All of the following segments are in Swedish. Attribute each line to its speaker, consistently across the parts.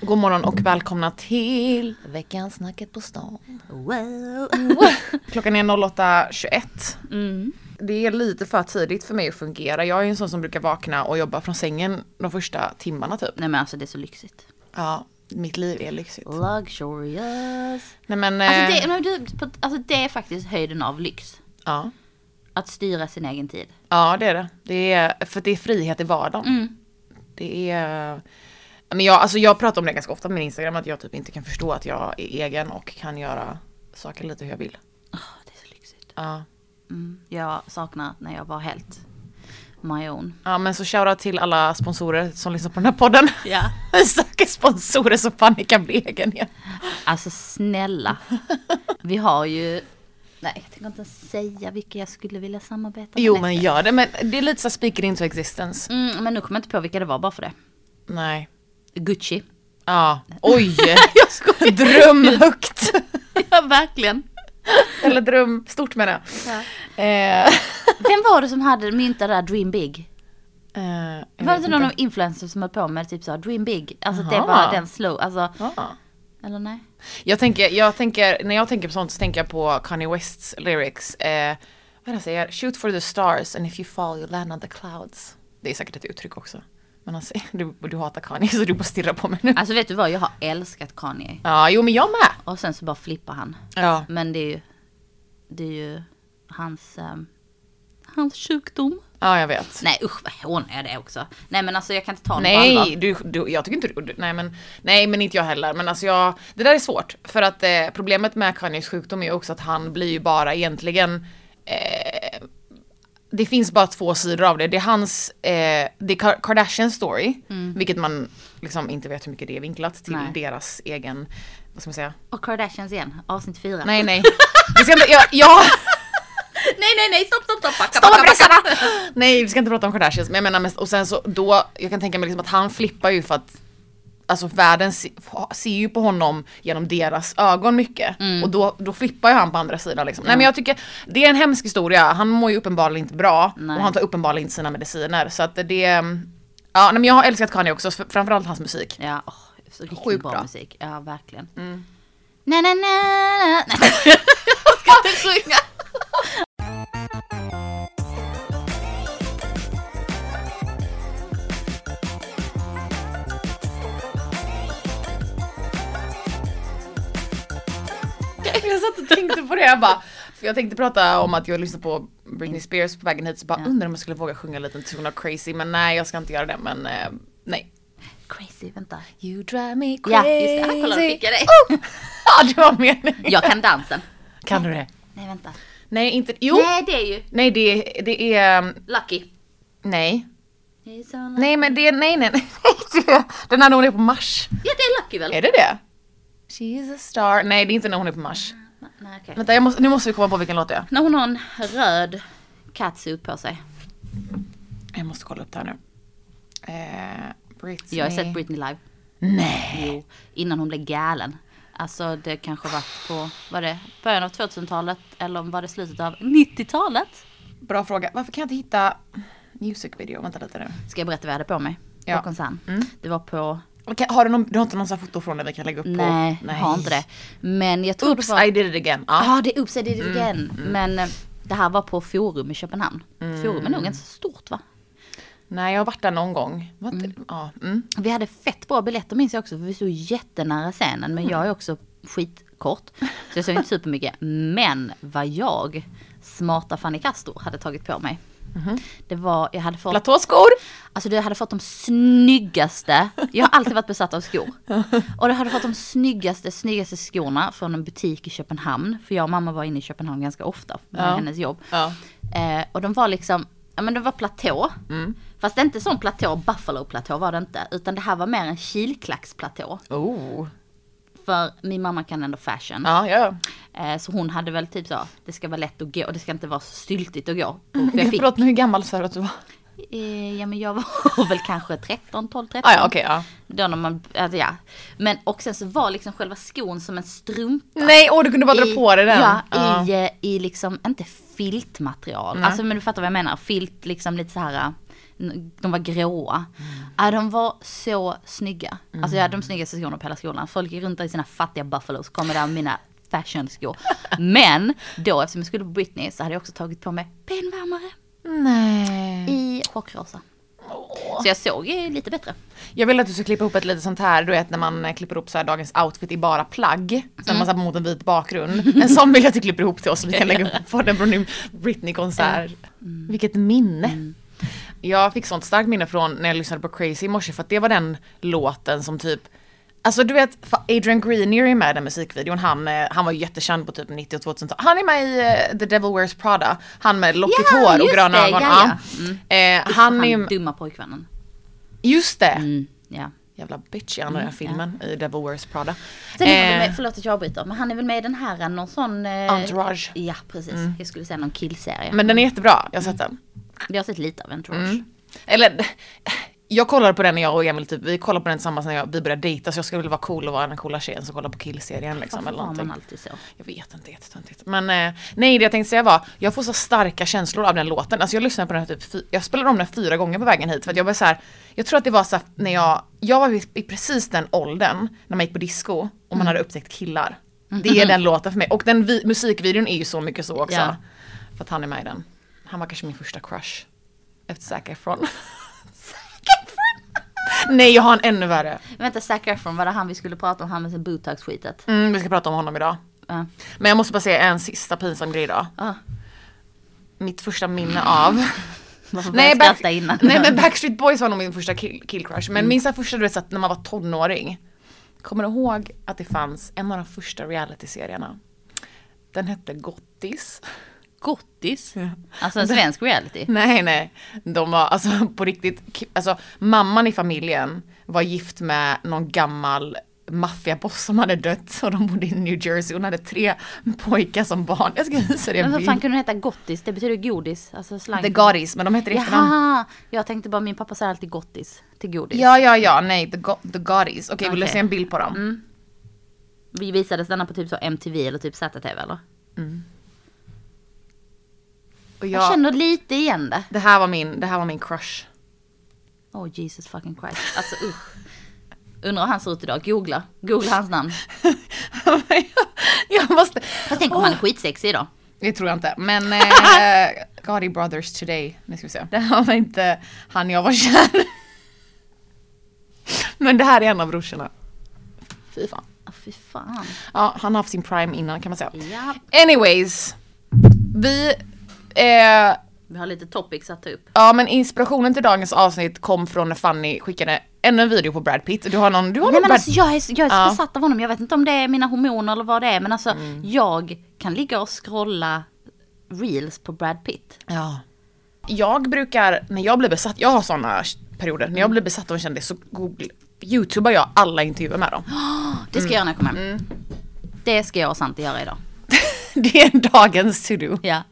Speaker 1: God morgon och välkomna till veckans snacket på stan.
Speaker 2: Well.
Speaker 1: Klockan är 08.21.
Speaker 2: Mm.
Speaker 1: Det är lite för tidigt för mig att fungera. Jag är en sån som brukar vakna och jobba från sängen de första timmarna typ.
Speaker 2: Nej men alltså det är så lyxigt.
Speaker 1: Ja, mitt liv är lyxigt.
Speaker 2: Luxurious.
Speaker 1: Nej men...
Speaker 2: Alltså
Speaker 1: eh,
Speaker 2: det, men du, på- alltså det är faktiskt höjden av lyx.
Speaker 1: ja.
Speaker 2: Att styra sin egen tid.
Speaker 1: ja, det är det. det är, för det är frihet i vardagen.
Speaker 2: Mm.
Speaker 1: Det är... Men jag, alltså jag pratar om det ganska ofta på min Instagram, att jag typ inte kan förstå att jag är egen och kan göra saker lite hur jag vill.
Speaker 2: Åh, det är så lyxigt.
Speaker 1: Ja.
Speaker 2: Mm. Jag saknar när jag var helt my own.
Speaker 1: Ja men så shoutout till alla sponsorer som lyssnar på den här podden.
Speaker 2: Ja.
Speaker 1: Vi söker sponsorer så fan ni kan bli egen igen.
Speaker 2: Alltså snälla. Vi har ju... Nej jag tänker inte ens säga vilka jag skulle vilja samarbeta med.
Speaker 1: Jo men gör det, men det är lite så här speaker into existence.
Speaker 2: Mm, men nu kommer jag inte på vilka det var bara för det.
Speaker 1: Nej.
Speaker 2: Gucci.
Speaker 1: Ja, oj!
Speaker 2: Jag skojar.
Speaker 1: dröm högt!
Speaker 2: Ja verkligen.
Speaker 1: Eller dröm stort menar jag. Eh,
Speaker 2: Vem var det som hade myntat det där Dream Big?
Speaker 1: eh, jag
Speaker 2: Var det
Speaker 1: vet
Speaker 2: inte någon influencer som höll på med typ så dream big? Alltså det
Speaker 1: Jaha.
Speaker 2: var den slow, alltså.
Speaker 1: Ja.
Speaker 2: Eller nej?
Speaker 1: Jag tänker, jag tänker, när jag tänker på sånt så tänker jag på Kanye Wests lyrics. Eh, vad är det han säger? Shoot for the stars and if you fall you land on the clouds. Det är säkert ett uttryck också. Men han säger, du, du hatar Kanye så du bara stirrar på mig nu.
Speaker 2: Alltså vet du vad, jag har älskat Kanye.
Speaker 1: Ja, jo men jag med.
Speaker 2: Och sen så bara flippar han.
Speaker 1: Ja.
Speaker 2: Men det är ju, det är ju hans, ehm, hans sjukdom.
Speaker 1: Ja, jag vet.
Speaker 2: Nej usch vad hon är det också. Nej men alltså jag kan inte ta honom på
Speaker 1: Nej,
Speaker 2: allvar.
Speaker 1: du, du, jag tycker inte du, du- nej men, nej men inte jag heller. Men alltså jag, det där är svårt. För att eh, problemet med Kanyes sjukdom är ju också att han blir ju bara egentligen, eh, det finns bara två sidor av det. Det är hans, eh, det är Ka- Kardashian story, vilket man liksom inte vet hur mycket det är vinklat till
Speaker 2: Nej.
Speaker 1: deras egen, vad ska man säga?
Speaker 2: Och Kardashians igen, avsnitt fyra.
Speaker 1: Nej nej. Vi ska inte, jag, jag
Speaker 2: nej nej, nej stopp stopp stopp. Backa,
Speaker 1: Stoppa
Speaker 2: backa, backa.
Speaker 1: pressarna! Nej vi ska inte prata om Kardashians men jag menar mest, och sen så då, jag kan tänka mig liksom att han flippar ju för att Alltså världen se, ser ju på honom genom deras ögon mycket
Speaker 2: Mm.
Speaker 1: och då, då flippar ju han på andra sidan liksom. Nej men jag tycker det är en hemsk historia, han mår ju uppenbarligen inte bra
Speaker 2: Nej.
Speaker 1: och han tar uppenbarligen inte sina mediciner så att det Ja nej, men jag har älskat Kanye också, fr- framförallt hans musik.
Speaker 2: Ja, åh, så riktigt
Speaker 1: Sjukt
Speaker 2: bra, Mm.
Speaker 1: bra.
Speaker 2: musik. Ja verkligen. Na, na, na, na. Nej, jag ska inte sjunga.
Speaker 1: Jag satt och tänkte på det, jag bara, för jag tänkte prata om att jag lyssnade på Britney Spears på vägen hit så bara
Speaker 2: Ja.
Speaker 1: undrar om jag skulle våga sjunga en liten ton av crazy men nej jag ska inte göra det men eh, nej.
Speaker 2: Crazy, vänta.
Speaker 1: You drive me crazy.
Speaker 2: Ja, just det. Ah, kolla, fick jag dig.
Speaker 1: Ja, det var meningen.
Speaker 2: Jag kan dansen.
Speaker 1: Kan du det?
Speaker 2: Nej, vänta.
Speaker 1: Nej, inte... Jo! Nej,
Speaker 2: Nej, det är ju
Speaker 1: det, det är... um,
Speaker 2: Lucky.
Speaker 1: Nej.
Speaker 2: He's so lucky.
Speaker 1: Nej, men det är... Nej, nej, nej. Det- Den här när hon är på Mars.
Speaker 2: Ja, det är Lucky väl?
Speaker 1: Är det det? She is a star. Nej, det är inte när hon är på Mars.
Speaker 2: Nej, okej.
Speaker 1: Vänta, jag måste, nu måste vi komma på vilken låt det är.
Speaker 2: När hon har en röd catsuit på sig.
Speaker 1: Jag måste kolla upp det här nu. Eh, Britney.
Speaker 2: Jag har sett Britney live.
Speaker 1: Nej.
Speaker 2: Jo, innan hon blev galen. Alltså det kanske var på, var det början av 2000-talet eller var det slutet av 90-talet?
Speaker 1: Bra fråga. Varför kan jag inte hitta music video? Vänta lite nu.
Speaker 2: Ska jag berätta vad jag hade på mig?
Speaker 1: Ja. Mm.
Speaker 2: På konserten. Det var på
Speaker 1: Okej, har du, någon, du har inte någon sån här foto från det vi kan lägga upp på?
Speaker 2: Nej, jag har inte det. Men jag tror
Speaker 1: Oops,
Speaker 2: det var...
Speaker 1: I did it again. Ja.
Speaker 2: Ja, ah, det är Oops, I did it
Speaker 1: Mm,
Speaker 2: again. Men eh, det här var på Forum i Köpenhamn.
Speaker 1: Mm.
Speaker 2: Forum är nog inte så stort va?
Speaker 1: Nej, jag har varit där någon gång. Var inte, ja, mm.
Speaker 2: Vi hade fett bra biljetter minns jag också för vi stod jättenära scenen. Men jag är också skitkort. Så jag såg inte supermycket. Men vad jag, smarta Fanny Castor, hade tagit på mig. Det var, jag hade fått
Speaker 1: Platåskor!
Speaker 2: Alltså du hade fått de snyggaste, jag har alltid varit besatt av skor. Och du hade fått de snyggaste, snyggaste skorna från en butik i Köpenhamn. För jag och mamma var inne i Köpenhamn ganska ofta med
Speaker 1: Ja.
Speaker 2: hennes jobb.
Speaker 1: Ja.
Speaker 2: Eh, och de var liksom, ja men de var platå.
Speaker 1: Mm.
Speaker 2: Fast det är inte sån platå, Buffalo-platå var det inte. Utan det här var mer en kilklacksplatå.
Speaker 1: Oh.
Speaker 2: För min mamma kan ändå fashion.
Speaker 1: Ja, ja, ja.
Speaker 2: Eh, så hon hade väl typ så, det ska vara lätt att gå, det ska inte vara så styltigt att gå. För jag
Speaker 1: Gud,
Speaker 2: fick,
Speaker 1: Mm, Förlåt, nu hur gammal sa du att du var?
Speaker 2: eh, ja men jag var väl kanske 13, 12, 13.
Speaker 1: Ah, ja, okej, ja.
Speaker 2: Då när man, alltså ja. Men och sen så var liksom själva skon som en strumpa.
Speaker 1: Nej, åh du kunde bara dra på dig den.
Speaker 2: Ja,
Speaker 1: Ja.
Speaker 2: I, eh, i liksom, inte filtmaterial. Alltså men du fattar vad jag menar. Filt liksom lite så här de var
Speaker 1: Mm.
Speaker 2: gråa. Äh, de var så snygga. Alltså jag hade de snyggaste skorna på hela skolan. Folk gick runt där i sina fattiga buffalos, kom där med mina fashionskor. Men då eftersom jag skulle på Britney så hade jag också tagit på mig benvärmare
Speaker 1: Nej.
Speaker 2: i chockrosa. Så jag såg ju lite bättre.
Speaker 1: Jag vill att du ska klippa ihop ett litet sånt här, du vet när man eh, klipper ihop så här dagens outfit i bara plagg. Sen
Speaker 2: Mm.
Speaker 1: man satt mot en vit bakgrund. En sån vill jag att du klipper ihop till oss så vi kan lägga upp på den från din Britney-konsert.
Speaker 2: Eh, mm.
Speaker 1: Vilket minne. Jag fick sånt starkt minne från när jag lyssnade på Crazy i morse för att det var den låten som typ Alltså du vet, fa- Adrian Grenier är med i den musikvideon, han, eh, han var ju jättekänd på typ 90 och 2000 Han är med i eh, The Devil Wears Prada, han med lockigt
Speaker 2: Ja,
Speaker 1: hår och
Speaker 2: just
Speaker 1: gröna
Speaker 2: det,
Speaker 1: ögon.
Speaker 2: ja, Mm. ja.
Speaker 1: Ja. Eh, han är ju,
Speaker 2: dumma pojkvännen.
Speaker 1: just det!
Speaker 2: Mm, ja.
Speaker 1: jävla bitch i andra filmen i Devil Wears Prada.
Speaker 2: Mm, Sen är han väl
Speaker 1: Eh,
Speaker 2: med, förlåt att jag avbryter, men han är väl med i den här, någon sån... eh,
Speaker 1: Entourage. Mm.
Speaker 2: Ja, precis. Jag skulle säga någon killserie.
Speaker 1: men Mm. den är jättebra, jag har sett den.
Speaker 2: Jag har sett lite av Entourage.
Speaker 1: Eller, jag kollade på den när jag och Emil, typ, vi kollade på den tillsammans när jag, vi började dejta så jag skulle vilja vara cool och vara den coola tjejen som kollar på killserien liksom.
Speaker 2: Varför
Speaker 1: Eller
Speaker 2: var man
Speaker 1: någonting.
Speaker 2: alltid så?
Speaker 1: Jag vet inte, jättetöntigt. Men eh, nej, det jag tänkte säga var, jag får så starka känslor av den låten. Alltså jag lyssnade på den här typ, fy- jag spelade om den fyra gånger på vägen hit för att jag var så här, jag tror att det var så här, när jag, jag var i, i precis den åldern när man gick på disco och man hade upptäckt killar. Det är den låten för mig. Och den vi, musikvideon är ju så mycket så också.
Speaker 2: Ja.
Speaker 1: För att han är med i den. Han var kanske min första crush. Efter Zac Efron. Zac Efron! Nej, jag har en ännu värre.
Speaker 2: Vänta, Zac Efron, var det han vi skulle prata om? Han med sin botox-skitet?
Speaker 1: Mm, vi ska prata om honom idag.
Speaker 2: Ja.
Speaker 1: Men jag måste bara säga en sista pinsam grej då.
Speaker 2: Ah.
Speaker 1: Mitt första minne av
Speaker 2: Varför började jag
Speaker 1: Back-
Speaker 2: skratta innan? Mm.
Speaker 1: nej men Backstreet Boys var nog min första kill, kill crush. Men min så här första du vet så att när man var tonåring. Kommer du ihåg att det fanns en av de första realityserierna? Den hette Gottis.
Speaker 2: Gottis? Alltså en svensk reality?
Speaker 1: Nej nej. De var alltså på riktigt, ki- alltså mamman i familjen var gift med någon gammal maffiaboss som hade dött och de bodde i New Jersey. Hon hade tre pojkar som barn. Jag ska visa dig
Speaker 2: Men
Speaker 1: en
Speaker 2: vad fan
Speaker 1: bild.
Speaker 2: kunde den heta Gottis? Det betyder godis, alltså slang.
Speaker 1: The Gottis, men de hette Mm. det i efternamn.
Speaker 2: Jaha! Jag tänkte bara, min pappa säger alltid gottis till godis.
Speaker 1: Ja, ja, ja, nej, the, go- the Gottis. Okej, vill du
Speaker 2: Okej. Mm.
Speaker 1: se en bild på dem?
Speaker 2: Vi visades denna på typ så MTV eller typ ZTV eller?
Speaker 1: Och
Speaker 2: Jag
Speaker 1: jag,
Speaker 2: känner lite igen det.
Speaker 1: det, här var min, det här var min crush.
Speaker 2: Oh Jesus fucking Christ. Alltså usch. Undrar hur han ser ut idag. Googla. Googla hans namn.
Speaker 1: jag måste...
Speaker 2: Fast tänk om han är skitsexig idag.
Speaker 1: Det tror jag inte, men eh, Gotti Brothers Today. Nu ska vi se. Det här var inte han jag var kär Men det här är en av brorsorna. Fy fan.
Speaker 2: Oh, fy fan.
Speaker 1: Ja, han har haft sin prime innan kan man säga.
Speaker 2: Ja.
Speaker 1: Anyways. Vi... Eh,
Speaker 2: Vi har lite topics att ta upp.
Speaker 1: Ja men inspirationen till dagens avsnitt kom från när Fanny skickade ännu en video på Brad Pitt. Du har någon, du har
Speaker 2: Nej
Speaker 1: någon
Speaker 2: men
Speaker 1: Brad...
Speaker 2: alltså jag är, så- jag är så
Speaker 1: Ja.
Speaker 2: besatt av honom. Jag vet inte om det är mina hormoner eller vad det är. Men alltså jag kan ligga och scrolla reels på Brad Pitt.
Speaker 1: Ja. Jag brukar, när jag blir besatt, jag har sådana perioder, när jag blir besatt av en kändis så google, youtubar jag alla intervjuer med dem.
Speaker 2: Det ska jag göra när jag kommer hem. Det ska jag och Santi göra idag.
Speaker 1: Det är dagens to-do.
Speaker 2: Ja.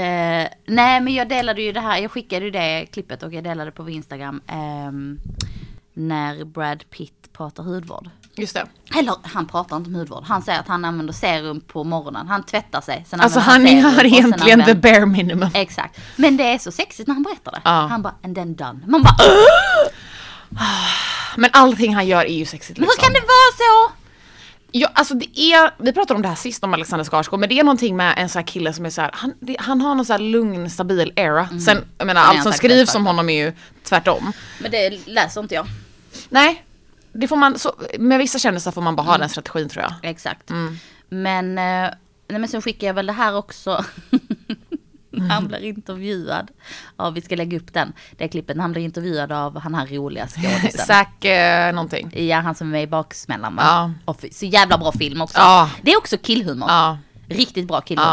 Speaker 2: Eh, nej men jag delade ju det här, jag skickade ju det klippet och jag delade på vår Instagram. ehm, när Brad Pitt pratar hudvård.
Speaker 1: Just det.
Speaker 2: Eller han pratar inte om hudvård, han säger att han använder serum på morgonen. Han tvättar sig. Sen
Speaker 1: Alltså han
Speaker 2: använder serum,
Speaker 1: gör
Speaker 2: och sen
Speaker 1: egentligen the
Speaker 2: använder-
Speaker 1: bare minimum.
Speaker 2: Exakt. Men det är så sexigt när han berättar det.
Speaker 1: Ja.
Speaker 2: Han bara and then done. Man bara "Åh,
Speaker 1: Men allting han gör är ju sexigt
Speaker 2: men hur
Speaker 1: liksom.
Speaker 2: kan det vara så?
Speaker 1: Ja, alltså det är, vi pratade om det här sist om Alexander Skarsgård, men det är någonting med en sån här kille som är så här, han, det, han har någon sån här lugn, stabil era. Sen, jag menar,
Speaker 2: är
Speaker 1: allt
Speaker 2: Mm. han
Speaker 1: som
Speaker 2: faktiskt
Speaker 1: skrivs
Speaker 2: tvärtom.
Speaker 1: om honom är ju tvärtom.
Speaker 2: Men det läser inte jag.
Speaker 1: Nej, det får man, så, med vissa kändisar får man bara
Speaker 2: Mm.
Speaker 1: ha den strategin tror jag.
Speaker 2: Exakt.
Speaker 1: Mm.
Speaker 2: Men, eh, nej, men sen skickar jag väl det här också. han blir intervjuad. Ja, vi ska lägga upp den. Det klippet. Han blir intervjuad av han här roliga skådisen.
Speaker 1: Zack eh, någonting.
Speaker 2: ja, han som är med i Baksmällan va?
Speaker 1: Ja.
Speaker 2: Och fy- så jävla bra film också.
Speaker 1: Ja.
Speaker 2: Det är också killhumor.
Speaker 1: Ja.
Speaker 2: Riktigt bra killhumor.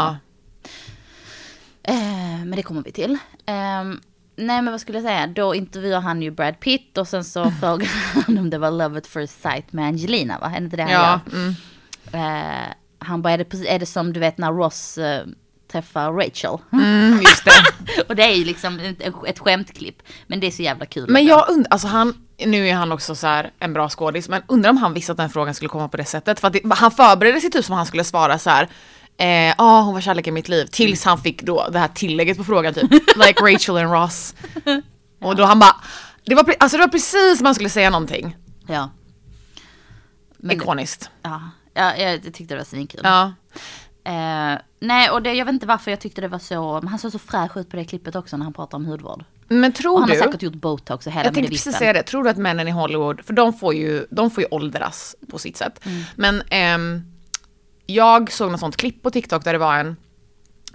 Speaker 1: Ja.
Speaker 2: Eh, men det kommer vi till. Ehm, nej men vad skulle jag säga, då intervjuar han ju Brad Pitt och sen så
Speaker 1: Mm.
Speaker 2: frågar han om det var Love at First Sight med Angelina va? Är det inte det han
Speaker 1: Ja, mm.
Speaker 2: gör? Eh, han bara, är det, precis, är det som du vet när Ross eh, träffar Rachel?
Speaker 1: Mm, just det.
Speaker 2: och det är ju liksom ett, ett skämtklipp. Men det är så jävla kul.
Speaker 1: Men jag undrar, alltså han, nu är han också så här en bra skådis, men undrar om han visste att den frågan skulle komma på det sättet. För att det, han förberedde sig typ som han skulle svara så här. Ja, eh, ah, hon var kärleken i mitt liv. Tills han fick då det här tillägget på frågan typ. Like Rachel and Ross. Och då han bara, det var, pre- alltså det var precis som han skulle säga någonting.
Speaker 2: Ja. Men det-
Speaker 1: Ikoniskt.
Speaker 2: ja. ja, jag tyckte det var svinkul.
Speaker 1: Ja.
Speaker 2: Eh, nej, och det, jag vet inte varför jag tyckte det var så, men han såg så fräsch ut på det klippet också när han pratade om hudvård.
Speaker 1: Men
Speaker 2: Och
Speaker 1: tror
Speaker 2: han har
Speaker 1: du,
Speaker 2: säkert gjort botox och hela
Speaker 1: jag tänkte
Speaker 2: medivisten.
Speaker 1: precis säga det, tror du att männen i Hollywood, för de får ju, de får ju åldras på sitt sätt.
Speaker 2: Mm.
Speaker 1: Men ehm, jag såg något sånt klipp på TikTok där det var en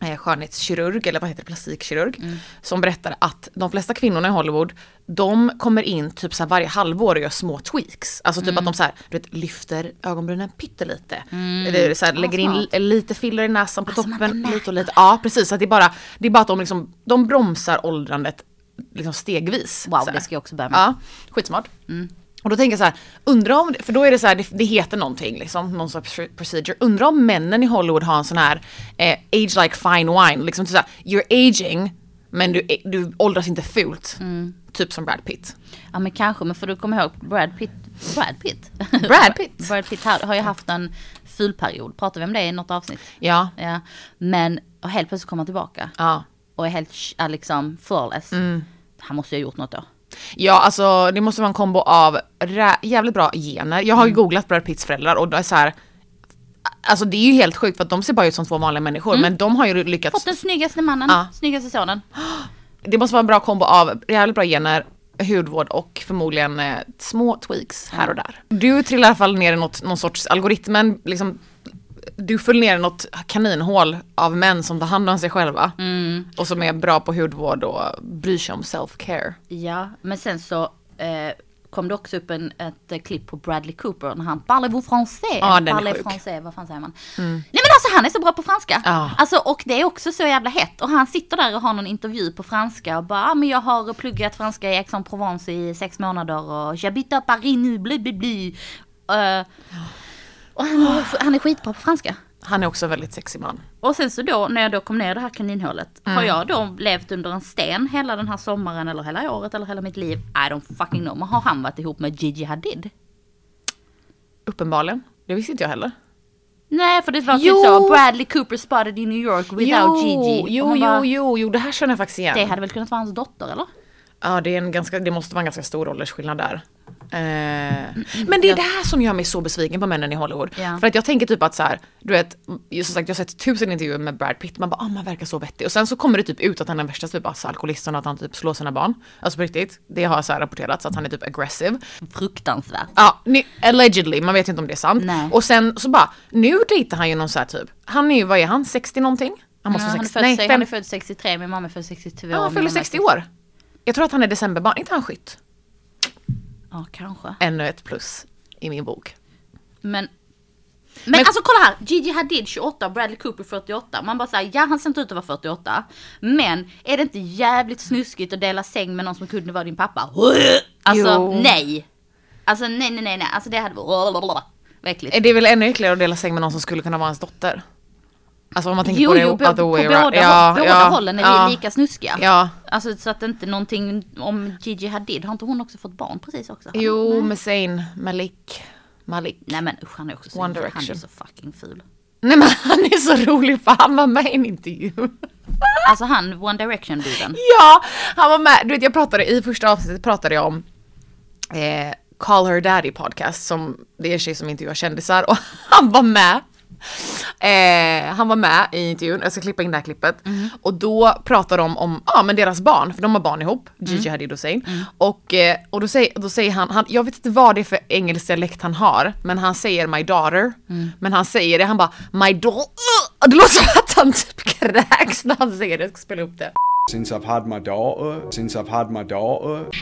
Speaker 1: eh, skönhetskirurg, eller vad heter det, plastikkirurg,
Speaker 2: Mm.
Speaker 1: som berättade att de flesta kvinnorna i Hollywood, de kommer in typ så här varje halvår och gör små tweaks. Alltså typ
Speaker 2: Mm.
Speaker 1: att de så här, du vet, lyfter ögonbrynen pyttelite. Eller så här, lägger in
Speaker 2: smart.
Speaker 1: lite filler i näsan på
Speaker 2: Alltså, man
Speaker 1: toppen,
Speaker 2: inte
Speaker 1: lite och lite. Ja precis, så att det, är bara, det är bara att de, liksom, de bromsar åldrandet liksom stegvis.
Speaker 2: Wow,
Speaker 1: så här.
Speaker 2: det ska jag också börja med. Mm.
Speaker 1: Ja, skitsmart. Och då tänker jag så här, undrar om, för då är det så här, det, det heter någonting liksom, någon sorts procedure. Undrar om männen i Hollywood har en sån här eh, age like fine wine, liksom så här, you're aging men du, eh, du åldras inte fult.
Speaker 2: Mm.
Speaker 1: Typ som Brad Pitt.
Speaker 2: Ja men kanske, men får du komma ihåg Brad Pitt, Brad Pitt?
Speaker 1: Brad Pitt.
Speaker 2: Brad Pitt har, har ju haft en fulperiod, pratade vi om det i något avsnitt?
Speaker 1: Ja,
Speaker 2: Ja. Men, och helt plötsligt kommer han tillbaka
Speaker 1: ja.
Speaker 2: och är helt sh- är liksom flawless.
Speaker 1: Mm.
Speaker 2: Han måste ju ha gjort något då.
Speaker 1: Ja, alltså det måste vara en kombo av rä- jävligt bra gener. Jag
Speaker 2: Mm.
Speaker 1: har ju googlat Brad Pitts föräldrar och det är så här, alltså det är ju helt sjukt för att de ser bara ut som två vanliga människor
Speaker 2: Mm.
Speaker 1: men de har ju lyckats
Speaker 2: Fått den snyggaste mannen,
Speaker 1: Ja.
Speaker 2: snyggaste sonen.
Speaker 1: Det måste vara en bra kombo av jävligt bra gener, hudvård och förmodligen eh, små tweaks här och där. Du trillar i alla fall ner i något, någon sorts algoritmen, liksom, du föll ner i något kaninhål av män som tar hand om sig själva.
Speaker 2: Mm.
Speaker 1: Och som är bra på hudvård och bryr sig om self-care.
Speaker 2: Ja, men sen så eh, kom det också upp en, ett eh, klipp på Bradley Cooper när han parlez-vous français?
Speaker 1: Ja, den är
Speaker 2: Parlez
Speaker 1: sjuk. Mm.
Speaker 2: français, vad fan säger man? Nej men alltså han är så bra på franska.
Speaker 1: Ja.
Speaker 2: Alltså och det är också så jävla hett. Och han sitter där och har någon intervju på franska och bara, ah, men jag har pluggat franska i Aix-en-Provence i sex månader och j'habite à Paris nu, bli bli bli. Eh, och han, han är skitbra på franska.
Speaker 1: Han är också en väldigt sexig man.
Speaker 2: Och sen så då när jag då kom ner i det här kaninhålet. Har jag då levt under en sten hela den här sommaren eller hela året eller hela mitt liv? I don't fucking know. Men har han varit ihop med Gigi Hadid?
Speaker 1: Uppenbarligen. Det visste inte jag heller.
Speaker 2: Nej för det var
Speaker 1: Jo!
Speaker 2: typ så Bradley Cooper spotted in New York without Gigi. Och
Speaker 1: jo,
Speaker 2: man
Speaker 1: jo,
Speaker 2: bara,
Speaker 1: jo, jo, det här känner jag faktiskt igen.
Speaker 2: Det hade väl kunnat vara hans dotter eller?
Speaker 1: Ja, det, är en ganska, det måste vara en ganska stor åldersskillnad där. Eh, men det är det här som gör mig så besviken på männen i Hollywood.
Speaker 2: Mm, Ja.
Speaker 1: För att jag tänker typ att så här, du vet, just som sagt jag har sett tusen intervjuer med Brad Pitt, man bara ah, man verkar så vettig. Och sen så kommer det typ ut att han är den värsta typ alltså, alkoholisten och att han typ slår sina barn. Alltså på riktigt, det har så här rapporterats att han är typ aggressive.
Speaker 2: Fruktansvärt.
Speaker 1: Ja, ni, allegedly, man vet ju inte om det är sant.
Speaker 2: Nej.
Speaker 1: Och sen så bara, nu dejtar han ju någon så här typ, han är ju, vad är han, 60 någonting? Han måste
Speaker 2: Ja,
Speaker 1: vara
Speaker 2: han, är
Speaker 1: 60,
Speaker 2: född,
Speaker 1: nej
Speaker 2: sig- han är
Speaker 1: 50.
Speaker 2: född 63, min mamma är född 62.
Speaker 1: Ja, han
Speaker 2: min
Speaker 1: fyller
Speaker 2: mamma är
Speaker 1: 60 år. Jag tror att han är decemberbarn, inte han skytt?
Speaker 2: Ja kanske.
Speaker 1: ännu ett plus i min bok.
Speaker 2: Men men,
Speaker 1: Men-
Speaker 2: alltså kolla här, Gigi Hadid 28 och Bradley Cooper 48. Man bara säger ja han ser inte ut att vara 48. Men är det inte jävligt snuskigt att dela säng med någon som kunde vara din pappa? Alltså
Speaker 1: Jo.
Speaker 2: nej. Alltså nej nej nej nej. Alltså det hade varit... Vad äckligt.
Speaker 1: Eh, Det är väl ännu äckligare att dela säng med någon som skulle kunna vara ens dotter? Alltså om man tänker
Speaker 2: Jo
Speaker 1: på det
Speaker 2: jo, på, på, båda,
Speaker 1: around.
Speaker 2: håll- båda hållen är
Speaker 1: ja,
Speaker 2: li- lika snuskiga.
Speaker 1: Ja.
Speaker 2: Alltså så att inte någonting om Gigi Hadid, har inte hon också fått barn precis också?
Speaker 1: Jo,
Speaker 2: Mm.
Speaker 1: Hussein, Malik, Malik.
Speaker 2: Nej men usch han är också så,
Speaker 1: One
Speaker 2: han är
Speaker 1: Direction.
Speaker 2: så fucking ful.
Speaker 1: Nej men han är så rolig för han var med i en intervju.
Speaker 2: Alltså han, One Direction-duden.
Speaker 1: Ja, han var med. Du vet jag pratade i första avsnittet pratade jag om eh, Call Her Daddy podcast som det är en tjej som intervjuar kändisar och han var med. Eh, han var med i intervjun, jag ska klippa in det här klippet. Och då pratar de om ja, men deras barn, för de har barn ihop, Gigi Hadid och Zayn. Och, eh, och då, säger, då säger han, han, jag vet inte vad det är för engelsk dialekt han har, men han säger my daughter. Men han säger det, han bara my daughter. Och det låter som att han typ kräks när han säger det, jag ska spela upp det.
Speaker 3: Since I've had my daughter, since I've had my daughter.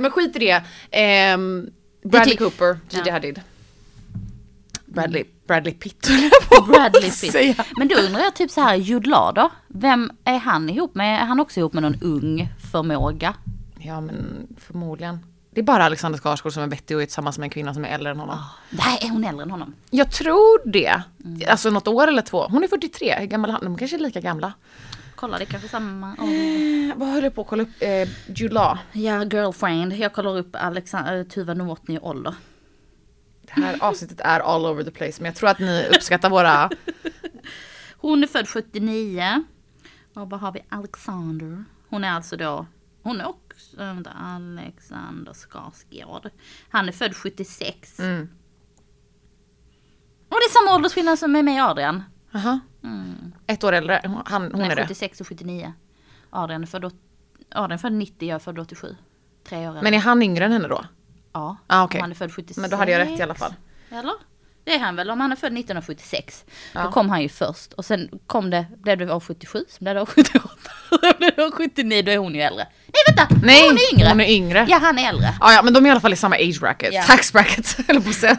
Speaker 1: Men skit i det. Ehm, Bradley
Speaker 2: Det-
Speaker 1: Cooper, Gigi
Speaker 2: Ja.
Speaker 1: Hadid. Bradley, Bradley Pitt höll jag på att
Speaker 2: Bradley
Speaker 1: säga.
Speaker 2: Pitt. Men då undrar jag typ så här, Jude Law då? Vem är han ihop med? Är han också ihop med någon ung förmåga?
Speaker 1: Ja men förmodligen. Det är bara Alexander Skarsgård som är vettig och är tillsammans med en kvinna som är äldre än honom.
Speaker 2: Nej, är hon äldre än honom?
Speaker 1: Jag tror det. Alltså något år eller två. Hon är 43, hur gammal är han? De kanske är lika gamla.
Speaker 2: Kolla, det är kanske samma.
Speaker 1: Eh, Vad höll jag på att kolla upp? Eh, Jude Law.
Speaker 2: Ja, girlfriend. Jag kollar upp Alexan- eh, Tuva Novotny i ålder.
Speaker 1: Det här avsnittet är all over the place men jag tror att ni uppskattar våra...
Speaker 2: Hon är född 79. Och vad har vi? Alexander. Hon är alltså då, hon är också, äh, vänta, Alexander Skarsgård. Han är född 76.
Speaker 1: Mm.
Speaker 2: Och det är samma åldersskillnad som med mig och Adrian.
Speaker 1: Aha.
Speaker 2: Mm.
Speaker 1: Ett år äldre, hon, han, hon
Speaker 2: Nej,
Speaker 1: är det.
Speaker 2: 76 och 79. Adrian är född, åt- Adrian är född 90, jag är född 87. Tre år äldre.
Speaker 1: Men är han yngre än henne då?
Speaker 2: Ja,
Speaker 1: Ah, okej.
Speaker 2: om han är född 76.
Speaker 1: Men då hade jag rätt i alla fall.
Speaker 2: Eller? Det är han väl, om han är född 1976.
Speaker 1: Ja.
Speaker 2: Då kom han ju först. Och sen kom det, blev det år 77, sen blev det år 78. Sen blev det år 79, då är hon ju äldre. Nej vänta!
Speaker 1: Nej,
Speaker 2: hon är yngre!
Speaker 1: Hon är yngre.
Speaker 2: Ja, han är äldre.
Speaker 1: Ah, ja men de är i alla fall i samma age bracket,
Speaker 2: Ja.
Speaker 1: tax bracket höll jag på att säga.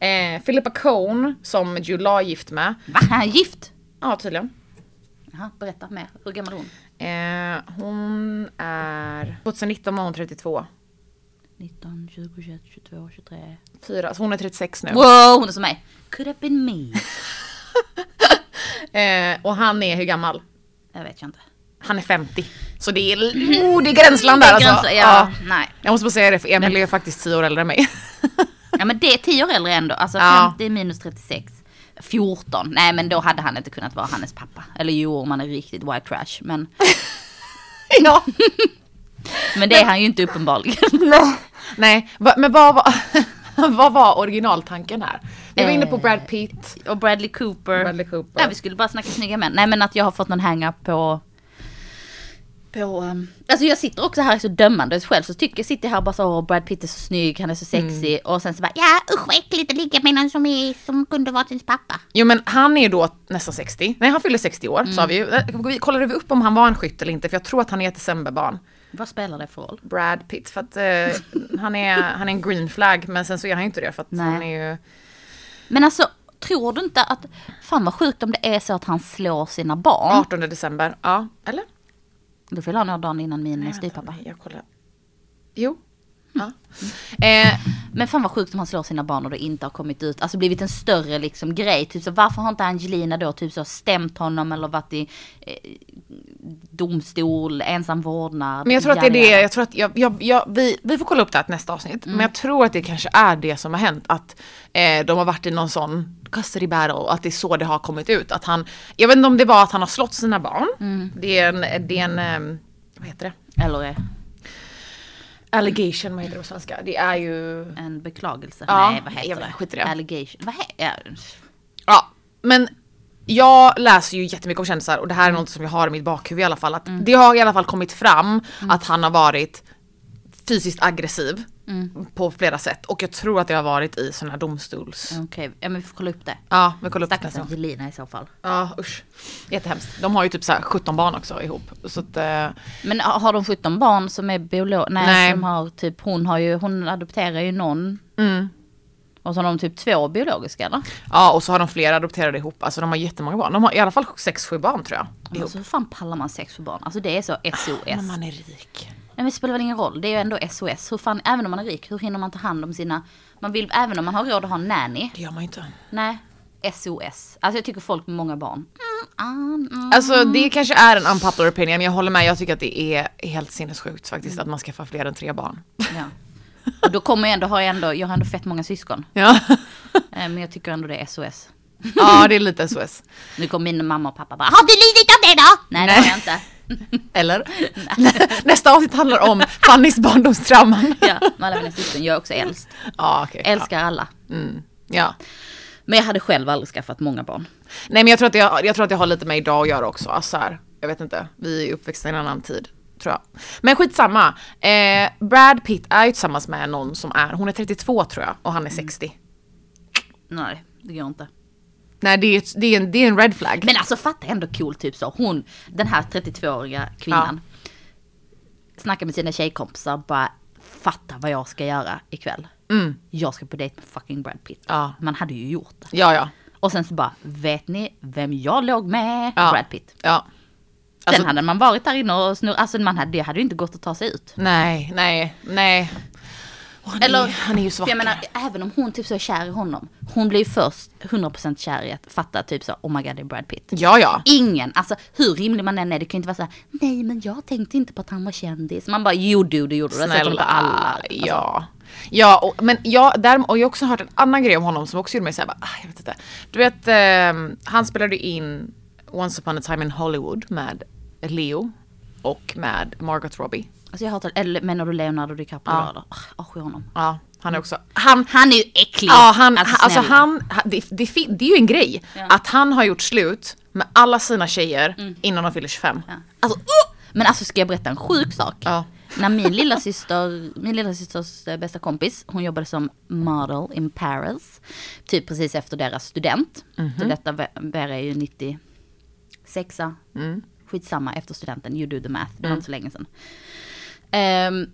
Speaker 1: Eh, Philippa Cohn som July är gift med,
Speaker 2: Va? Han är gift?
Speaker 1: ja tydligen.
Speaker 2: Jaha, berätta mer. Hur gammal är hon?
Speaker 1: Eh, hon är, 2019 var hon 32,
Speaker 2: 19, 20, 21, 22, 23.
Speaker 1: 4, så hon är 36 nu.
Speaker 2: Wow, hon är som mig. Could have been me.
Speaker 1: Eh, och han är hur gammal?
Speaker 2: Jag vet jag inte.
Speaker 1: Han är 50. Så det är, oh, det är gränsland där alltså.
Speaker 2: Gränser, ja, nej.
Speaker 1: Jag måste bara säga det för Emil är faktiskt 10 år äldre än mig.
Speaker 2: Ja men det är 10 år äldre ändå. Alltså
Speaker 1: Ja.
Speaker 2: 50 minus 36. 14. Nej men då hade han inte kunnat vara hennes pappa. Eller jo om han är riktigt white trash. Men,
Speaker 1: ja.
Speaker 2: men det är han ju inte uppenbarligen.
Speaker 1: Nej, va- men vad var, vad var originaltanken här? Vi var inne på Brad Pitt.
Speaker 2: Och Bradley Cooper.
Speaker 1: Bradley Cooper.
Speaker 2: Ja vi skulle bara snacka snygga män. Nej men att jag har fått någon hänga på på, ehm, alltså jag sitter också här så dömande själv så tycker jag sitter här och bara så åh Brad Pitt är så snygg, han är så sexig och sen så bara ja usch vad äckligt att ligga med någon som, är, som kunde varit ens pappa.
Speaker 1: Jo men han är ju då nästan 60. Nej han fyller 60 år sa vi ju. Eh, Vi Kollade vi upp om han var en skytt eller inte för jag tror att han är ett decemberbarn.
Speaker 2: Vad spelar det för roll?
Speaker 1: Brad Pitt för att eh, han, är, han är en green flag men sen så är han ju inte det för att
Speaker 2: Nej.
Speaker 1: han är ju...
Speaker 2: Men alltså, tror du inte att, fan vad sjukt om det är så att han slår sina barn.
Speaker 1: 18 december, ja. Eller?
Speaker 2: Då fyller han några dagar innan min eh,
Speaker 1: Nej, vänta,
Speaker 2: styvpappa.
Speaker 1: nej, Jag kollar. Jo. Ja. Eh,
Speaker 2: Men fan vad sjukt om han slår sina barn och det inte har kommit ut, alltså blivit en större liksom grej. Typ så varför har inte Angelina då typ så stämt honom eller varit i eh, domstol, ensam vårdnad.
Speaker 1: men jag tror att det är det,
Speaker 2: yada, yada.
Speaker 1: jag tror att jag, jag, jag, vi, vi får kolla upp det här till nästa avsnitt. Men jag tror att det kanske är det som har hänt. Att eh, de har varit i någon sån custody battle. och Att det är så det har kommit ut. Att han, jag vet inte om det var att han har slått sina barn. Det är en, det är en ehm, vad heter det?
Speaker 2: Eller eh,
Speaker 1: Allegation, vad heter det på svenska? Det är ju...
Speaker 2: en beklagelse.
Speaker 1: Ja,
Speaker 2: Nej vad heter
Speaker 1: jag vet,
Speaker 2: det?
Speaker 1: skit i det.
Speaker 2: Allegation. Vad he- ja.
Speaker 1: Ja, men jag läser ju jättemycket om kändisar och det här är något som jag har i mitt bakhuvud i alla fall. Att Det har i alla fall kommit fram att han har varit fysiskt aggressiv på flera sätt och jag tror att det har varit i sådana här domstols...
Speaker 2: Okej, ja men vi får kolla upp det.
Speaker 1: Ja, vi kollar upp det
Speaker 2: Stackars
Speaker 1: nästa gång.
Speaker 2: Angelina i så fall.
Speaker 1: Ja usch. Jättehemskt. De har ju typ så här 17 barn också ihop. Så att, eh,
Speaker 2: Men har har de 17 barn som är biolog? Nej,
Speaker 1: Nej.
Speaker 2: Som har typ, hon, har ju, hon adopterar ju någon.
Speaker 1: mm.
Speaker 2: Och så har de typ två biologiska eller?
Speaker 1: Ja och så har de flera adopterade ihop. Alltså de har jättemånga barn. De har i alla fall 6-7 barn tror jag.
Speaker 2: Men
Speaker 1: Ihop.
Speaker 2: Alltså hur fan pallar man sex för barn? Alltså det är så SOS.
Speaker 1: Ah, Men
Speaker 2: Nej
Speaker 1: man är rik.
Speaker 2: men det spelar väl ingen roll, det är ju ändå SOS. Hur fan, även om man är rik, hur hinner man ta hand om sina... Man vill, även om man har råd att ha en nanny.
Speaker 1: Det gör man ju inte.
Speaker 2: Nej, SOS. Alltså jag tycker folk med många barn. Mm, ah, mm.
Speaker 1: Alltså det kanske är en unpopular opinion, men jag håller med. Jag tycker att det är helt sinnessjukt faktiskt att man skaffar fler än tre barn.
Speaker 2: Ja. Och då kommer jag ändå, har jag ändå, jag har ändå fett många syskon.
Speaker 1: Ja,
Speaker 2: Eh, Men jag tycker ändå det är SOS.
Speaker 1: ja det är lite SOS.
Speaker 2: Nu kommer min mamma och pappa bara, har du lidit av det då? Nej det har jag inte.
Speaker 1: Eller? Nästa avsnitt handlar om Fannys barndomstrauman.
Speaker 2: Ja, med alla mina syskon. Jag är också äldst.
Speaker 1: Ja, okej.
Speaker 2: Älskar alla.
Speaker 1: Ja. Mm. ja.
Speaker 2: Men jag hade själv aldrig skaffat många barn.
Speaker 1: Nej men jag tror, att det, jag tror att det har lite med idag att göra också. Alltså, så här, jag vet inte, vi är uppväxta i en annan tid. Tror jag. Men skitsamma. Eh, Brad Pitt är ju tillsammans med någon som är, hon är 32 tror jag och han
Speaker 2: Mm.
Speaker 1: är 60.
Speaker 2: Nej, det går inte.
Speaker 1: Nej det är, ett- det, är en, det är en red flag.
Speaker 2: Men alltså fatta ändå cool typ så. Hon, den här 32-åriga kvinnan. Snackar med sina tjejkompisar bara fatta vad jag ska göra ikväll. Jag ska på dejt med fucking Brad Pitt.
Speaker 1: Ja.
Speaker 2: Man hade ju gjort det.
Speaker 1: Ja ja.
Speaker 2: Och sen så bara, vet ni vem jag låg med?
Speaker 1: ja.
Speaker 2: Brad Pitt.
Speaker 1: Ja.
Speaker 2: Sen
Speaker 1: Alltså-
Speaker 2: hade man varit där inne och snurrat, alltså man hade, det hade ju inte gått att ta sig ut.
Speaker 1: Nej, nej, nej. Och han,
Speaker 2: Eller-
Speaker 1: är, han är ju så
Speaker 2: För jag
Speaker 1: vacker.
Speaker 2: menar, även om hon typ så är kär i honom. Hon blir ju först 100% kär i att fatta typ så, oh my god det är Brad Pitt.
Speaker 1: ja, ja.
Speaker 2: Ingen, alltså hur rimlig man än är, det kan ju inte vara så här, nej men jag tänkte inte på att han var kändis. Man bara, jo du, det gjorde du. Det har sett honom på
Speaker 1: Snälla.
Speaker 2: alla. Alltså,
Speaker 1: Ja. Ja, och, men jag, där, och jag har också hört en annan grej om honom som också gjorde mig såhär, ah, jag vet inte. Du vet, ehm, han spelade in Once upon a time in Hollywood med Leo och med Margot Robbie.
Speaker 2: Alltså jag hatar, eller menar du Leonardo DiCaprio
Speaker 1: Ja.
Speaker 2: då? eller? Ah, Avskyr honom.
Speaker 1: Ja, han är också, han,
Speaker 2: Han är ju äcklig.
Speaker 1: Ja, han,
Speaker 2: Mm. Alltså,
Speaker 1: alltså, alltså
Speaker 2: snälla.
Speaker 1: han, han- det, det, fin- det är ju en grej
Speaker 2: Ja. Mm.
Speaker 1: att han har gjort slut med alla sina tjejer innan de fyller 25.
Speaker 2: Ja. Alltså, uh! Men alltså ska jag berätta en sjuk sak?
Speaker 1: Ja.
Speaker 2: När min lilla syster, min lilla systers eh, bästa kompis, hon jobbade som model in Paris. Typ precis efter deras student. Så detta var- var är ju 96. Mm. Skitsamma, efter studenten, you do the math. Det var inte så länge sedan. Ehm,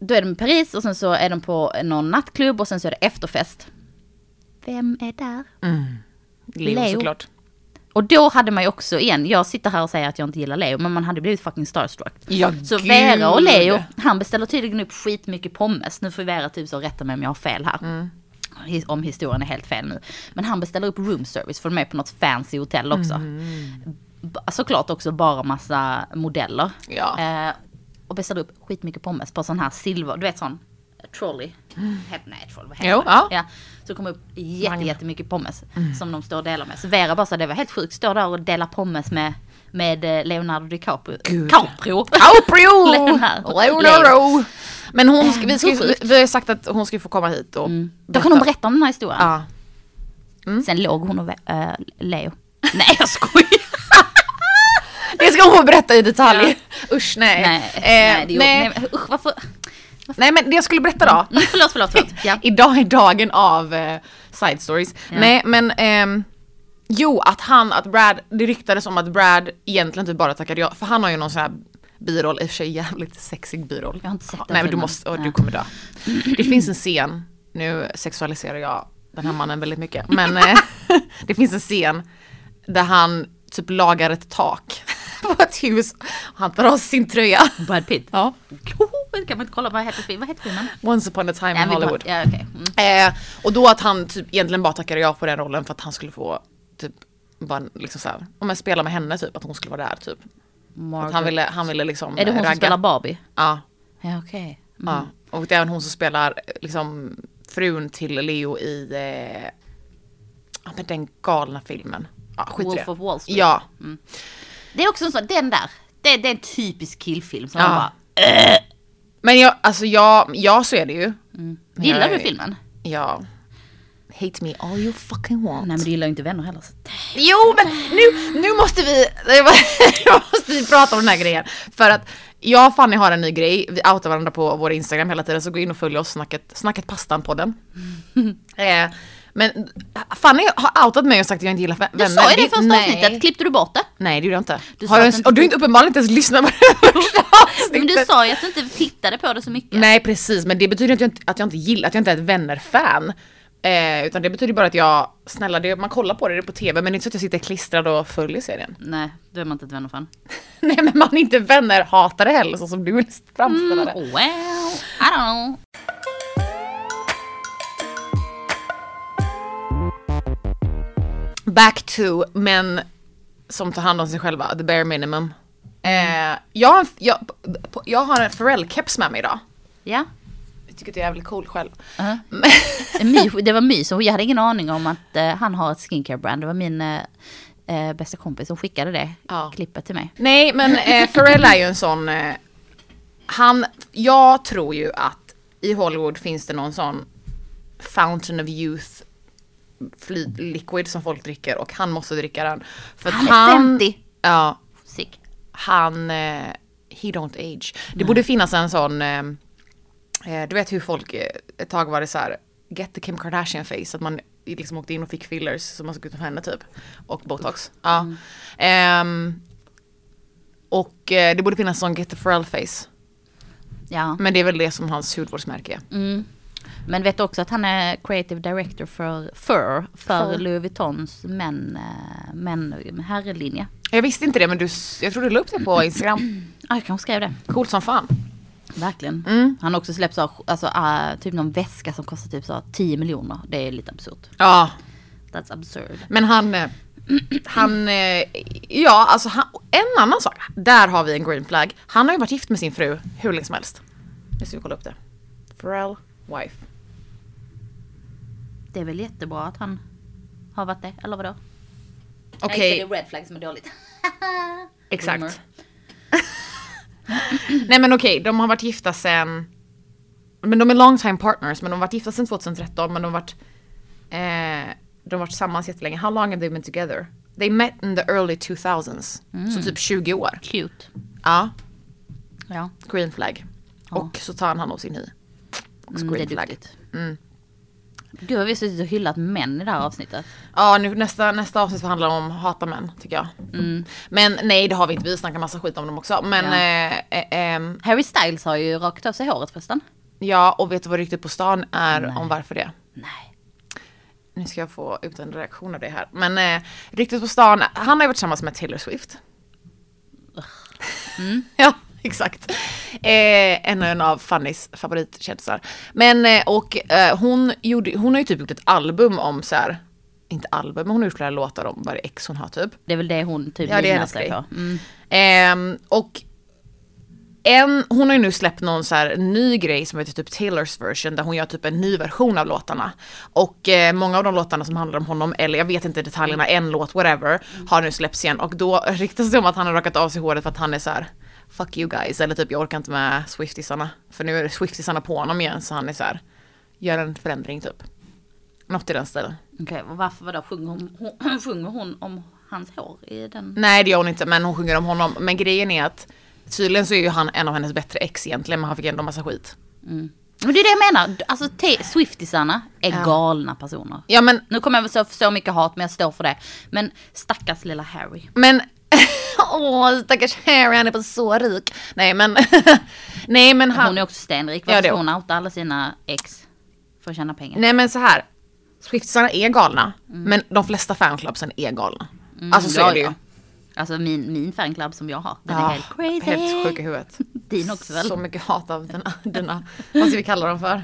Speaker 2: då är de i Paris och sen så är de på någon nattklubb och sen så är det efterfest. Vem är där?
Speaker 1: Leo,
Speaker 2: Leo.
Speaker 1: såklart.
Speaker 2: Och då hade man ju också, igen, jag sitter här och säger att jag inte gillar Leo, men man hade blivit fucking starstruck.
Speaker 1: Ja,
Speaker 2: Så
Speaker 1: gud.
Speaker 2: Vera och Leo, han beställer tydligen upp skitmycket pommes. Nu får Vera typ så rätta mig om jag har fel här.
Speaker 1: Mm.
Speaker 2: His- Om historien är helt fel nu. Men han beställer upp room service, för de är på något fancy hotell också.
Speaker 1: Mm.
Speaker 2: B- Såklart också bara massa modeller.
Speaker 1: Ja.
Speaker 2: Eh, och beställer upp skitmycket pommes på sån här silver, du vet sån trolley. He- Nej trolley, vad heter
Speaker 1: Mm. Jo,
Speaker 2: det?
Speaker 1: ja.
Speaker 2: Så det kom upp jätte,
Speaker 1: Vagn.
Speaker 2: jättemycket pommes
Speaker 1: Mm.
Speaker 2: som de står och delar med. Så Vera bara sa det var helt sjukt, står där och delar pommes med, med eh, Leonardo DiCaprio.
Speaker 1: Gud.
Speaker 2: Caprio.
Speaker 1: Auprio!
Speaker 2: Leonardo.
Speaker 1: Leonardo! Men hon, ska, vi, ska, ju-
Speaker 2: Så sjukt.
Speaker 1: vi har ju sagt att hon ska ju få komma hit och
Speaker 2: Mm. Då kan hon berätta om den här historien.
Speaker 1: Ja. Mm.
Speaker 2: Sen låg hon och eh, Leo. Nej jag skojar.
Speaker 1: Det ska hon få berätta i detalj. Usch nej.
Speaker 2: nej,
Speaker 1: Eh,
Speaker 2: nej, det gjorde,
Speaker 1: nej.
Speaker 2: nej. usch varför.
Speaker 1: Nej, men det jag skulle berätta då.
Speaker 2: Mm, förlåt, förlåt, förlåt. Ja.
Speaker 1: Idag är dagen av eh, side stories.
Speaker 2: Ja.
Speaker 1: Nej men ehm, jo att han, att Brad, det ryktades om att Brad egentligen typ bara tackade ja, för han har ju någon sån här biroll, i och för sig jävligt sexig biroll.
Speaker 2: Jag har inte sett den
Speaker 1: Nej men du
Speaker 2: filmen.
Speaker 1: måste, och du
Speaker 2: Nej.
Speaker 1: kommer dö. Det finns en scen, nu sexualiserar jag den här mannen väldigt mycket, men eh, det finns en scen där han typ lagar ett tak på ett hus och han tar av sin tröja.
Speaker 2: Brad Pitt.
Speaker 1: Ja,
Speaker 2: Kan man inte kolla vad heter filmen? Vad heter filmen?
Speaker 1: once upon a time
Speaker 2: Nej,
Speaker 1: in
Speaker 2: vi tar-
Speaker 1: Hollywood.
Speaker 2: Ja, okej. Mm.
Speaker 1: Eh, och då att han typ egentligen bara tackade ja på den rollen för att han skulle få typ bara liksom såhär, om jag spelar med henne typ, att hon skulle vara där typ. Att han
Speaker 2: Margaret.
Speaker 1: ville, han ville liksom
Speaker 2: Är det
Speaker 1: eh,
Speaker 2: hon som
Speaker 1: ragga.
Speaker 2: spelar Barbie?
Speaker 1: Ja,
Speaker 2: Ja okej. Mm.
Speaker 1: ja. Och det är även hon som spelar eh, liksom frun till Leo i eh, ja, men den galna filmen. Ja, skit i
Speaker 2: Wolf
Speaker 1: det.
Speaker 2: of Wall Street.
Speaker 1: Ja,
Speaker 2: Det är också en sån, den där. Det, det är en typisk killfilm som
Speaker 1: Ja.
Speaker 2: man bara,
Speaker 1: men jag, alltså jag, jag ser det ju.
Speaker 2: mm. gillar du
Speaker 1: Nej.
Speaker 2: filmen?
Speaker 1: Ja. Hate me all you fucking want.
Speaker 2: Nej men du gillar ju inte vänner heller. Så.
Speaker 1: Jo men nu, nu måste vi, nu måste vi prata om den här grejen. För att jag och Fanny har en ny grej, vi outar varandra på vår Instagram hela tiden så gå in och följ oss, snacket, snacket pastan-podden. eh, men Fanny har outat mig och sagt att jag inte gillar vä-
Speaker 2: Du
Speaker 1: vänner.
Speaker 2: sa ju det i första
Speaker 1: nej.
Speaker 2: avsnittet, klippte du bort det?
Speaker 1: Nej det gjorde jag inte.
Speaker 2: Du sa
Speaker 1: har du
Speaker 2: att
Speaker 1: ens,
Speaker 2: du inte-
Speaker 1: och du har inte uppenbarligen inte ens lyssnat på det första avsnittet.
Speaker 2: Men du sa ju att du inte tittade på det så mycket.
Speaker 1: Nej precis, men det betyder inte att jag inte, att jag inte gillar, att jag inte är ett vänner-fan. Eh, utan det betyder bara att jag, snälla det, man kollar på det, det är på tv men det är inte så att jag sitter klistrad och följer serien.
Speaker 2: Nej, då är man inte ett vännerfan.
Speaker 1: Nej men man är inte vänner hatar det heller så som du vill framställa det.
Speaker 2: Oh, Well, I don't know.
Speaker 1: Back to män som tar hand om sig själva, the bare minimum. Eh, jag, har en, jag, på- jag har en Pharrell-keps med mig idag.
Speaker 2: Ja.
Speaker 1: Jag tycker att jag är jävligt cool själv.
Speaker 2: Uh-huh.
Speaker 1: Men-
Speaker 2: My, det var My som, jag hade ingen aning om att eh, han har ett skincare brand. Det var min eh, eh, bästa kompis som skickade det
Speaker 1: Ja.
Speaker 2: klippet till mig.
Speaker 1: Nej men eh, Pharrell är ju en sån, eh, han, jag tror ju att i Hollywood finns det någon sån fountain of youth fly, liquid som folk dricker och han måste dricka den. För att
Speaker 2: Han är 50.
Speaker 1: Ja,
Speaker 2: Sick.
Speaker 1: han, eh, he don't age. Det borde finnas en sån, eh, eh, du vet hur folk, eh, ett tag var det så här, get the Kim Kardashian face, att man liksom åkte in och fick fillers som man såg ut som henne typ. Och botox. Ja. Ehm, och eh, det borde finnas en sån get the Pharrell face.
Speaker 2: Ja.
Speaker 1: Men det är väl det som hans hudvårdsmärke är.
Speaker 2: Mm. Men vet du också att han är creative director för för, för
Speaker 1: Fur.
Speaker 2: Louis Vuittons män, eh, män herrlinje.
Speaker 1: Jag visste inte det men du, s- jag tror du la upp det på Instagram.
Speaker 2: Ah, jag kanske skrev det. Mm.
Speaker 1: Coolt som fan.
Speaker 2: Verkligen. Han har också släppt så, alltså, eh, typ någon väska som kostar typ så 10 miljoner. Det är lite absurt.
Speaker 1: Ja.
Speaker 2: That's absurd.
Speaker 1: Men han, eh, han, eh, ja alltså han, en annan sak, där har vi en green flag. Han har ju varit gift med sin fru hur länge som helst. Nu ska vi kolla upp det. Pharrell wife.
Speaker 2: Det är väl jättebra att han har varit det, eller vadå?
Speaker 1: Okej,
Speaker 2: Nej, det är red flag som är dåligt.
Speaker 1: exakt.
Speaker 2: Boomer.
Speaker 1: Nej men okej, de har varit gifta sen... Men de är long time partners, men de har varit gifta sen 2013, men de har varit... Eh, de har varit tillsammans jättelänge. How long have they been together? They met in the early 2000s.
Speaker 2: Mm.
Speaker 1: Så typ 20 år.
Speaker 2: Cute.
Speaker 1: Ja,
Speaker 2: Ja,
Speaker 1: green flag.
Speaker 2: Ja.
Speaker 1: Och så tar han hand om sin hy. Också
Speaker 2: mm, det
Speaker 1: green
Speaker 2: är
Speaker 1: flag.
Speaker 2: duktigt. Gud vad vi har suttit och hyllat män i det här avsnittet.
Speaker 1: Ja, nu, nästa, nästa avsnitt handlar om hata män tycker jag.
Speaker 2: Mm.
Speaker 1: Men nej, det har vi inte. Vi snackar massa skit om dem också. Men eh, eh, ehm,
Speaker 2: Harry Styles har ju rakat av sig håret förresten.
Speaker 1: ja, och vet du vad ryktet på stan är
Speaker 2: Nej.
Speaker 1: om varför det?
Speaker 2: Nej.
Speaker 1: Nu ska jag få ut en reaktion av det här. Men eh, ryktet på stan, han har ju varit tillsammans med Taylor Swift.
Speaker 2: Mm.
Speaker 1: ja, exakt. Eh, en, en av Fannys favoritkändisar. Men eh, och eh, hon, gjorde, hon har ju typ gjort ett album om så här, inte album, men hon har gjort flera låtar om varje ex hon har typ.
Speaker 2: Det är väl det hon typ
Speaker 1: Ja, det är
Speaker 2: livnär
Speaker 1: hennes
Speaker 2: sig
Speaker 1: grej.
Speaker 2: på. Mm.
Speaker 1: Ehm, och en, hon har ju nu släppt någon så här ny grej som heter typ Taylors version där hon gör typ en ny version av låtarna. Och eh, många av de låtarna som handlar om honom, eller jag vet inte detaljerna, en låt, whatever, har nu släppts igen. Och då ryktas det om att han har rakat av sig håret för att han är så här fuck you guys, eller typ jag orkar inte med swiftisarna. För nu är det swiftisarna på honom igen så han är så här gör en förändring typ. Något i den stilen.
Speaker 2: Okej, och varför vadå? Sjunger hon, hon, sjunger hon om hans hår i den?
Speaker 1: Nej det gör hon inte men hon sjunger om honom. Men grejen är att tydligen så är ju han en av hennes bättre ex egentligen men han fick ändå massa skit.
Speaker 2: Men det är det jag menar. Alltså te- Swiftisarna är galna personer.
Speaker 1: Ja men,
Speaker 2: Nu kommer jag väl så, så mycket hat men jag står för det. Men stackars lilla Harry.
Speaker 1: men åh stackars Harry han är på så rik. Nej men, nej men han,
Speaker 2: Hon är också stenrik.
Speaker 1: Ja,
Speaker 2: Varför
Speaker 1: det
Speaker 2: ska
Speaker 1: är
Speaker 2: hon outa alla sina ex? För att tjäna pengar.
Speaker 1: nej men så här. Swiftisarna är galna men de flesta fanclubsen är galna. alltså så
Speaker 2: Mm. ja,
Speaker 1: är det ju.
Speaker 2: ja. Alltså min, min fanclub som jag har. Den
Speaker 1: Ja,
Speaker 2: är helt crazy.
Speaker 1: Helt sjuk i huvudet.
Speaker 2: Din också väl?
Speaker 1: Så mycket hat av dina, dina vad ska vi kalla dem för?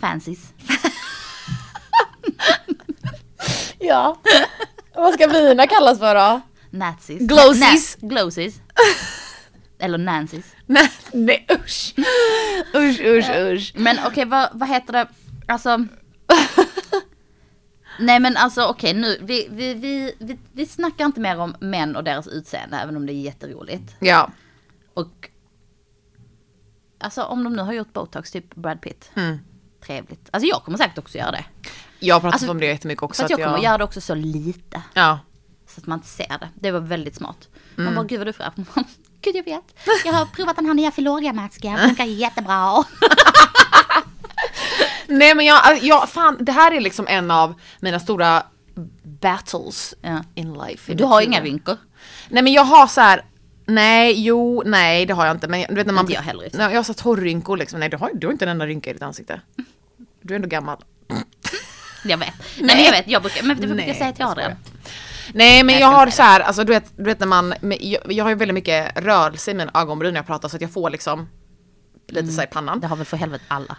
Speaker 2: Fancies.
Speaker 1: Ja. Vad ska mina kallas för då?
Speaker 2: Nazis.
Speaker 1: Glosies.
Speaker 2: Na- glosies. Eller Nancys.
Speaker 1: Nej, nej usch. Usch usch usch.
Speaker 2: Men okej, vad, vad heter det? Alltså... Nej men alltså okej nu, vi, vi, vi, vi, vi snackar inte mer om män och deras utseende även om det är jätteroligt.
Speaker 1: Ja.
Speaker 2: Och... Alltså om de nu har gjort botox, typ Brad Pitt.
Speaker 1: Mm.
Speaker 2: Trevligt. Alltså jag kommer säkert också göra det.
Speaker 1: Jag har pratat
Speaker 2: Alltså,
Speaker 1: om det jättemycket också.
Speaker 2: Fast jag kommer göra det också så lite.
Speaker 1: Ja.
Speaker 2: Så att man inte ser det. Det var väldigt smart. Man bara, gud vad du är fräsch. Man bara, Gud jag vet. Jag har provat den här nya Filorga-masken. Funkar jättebra.
Speaker 1: Nej men jag, alltså, jag, fan det här är liksom en av mina stora battles
Speaker 2: Ja.
Speaker 1: in life.
Speaker 2: Du har inga rynkor.
Speaker 1: Nej men jag har så här. Nej, jo, nej det har jag inte. Men du vet när man...
Speaker 2: Inte jag heller, i och för sig.
Speaker 1: Nej, jag har så här torrrynkor liksom. Nej du har, du har inte en enda rynka i ditt ansikte. Du är ändå gammal.
Speaker 2: Jag vet. Nej, men jag vet. Jag brukar, men du brukar
Speaker 1: Nej,
Speaker 2: säga att jag har det.
Speaker 1: Nej men
Speaker 2: jag
Speaker 1: jag
Speaker 2: ska
Speaker 1: har
Speaker 2: inte
Speaker 1: så här, alltså du vet, du vet när man, men jag, jag har ju väldigt mycket rörelse i mina ögonbryn när jag pratar så att jag får liksom lite
Speaker 2: Mm.
Speaker 1: så här i pannan.
Speaker 2: Det har väl för helvete alla.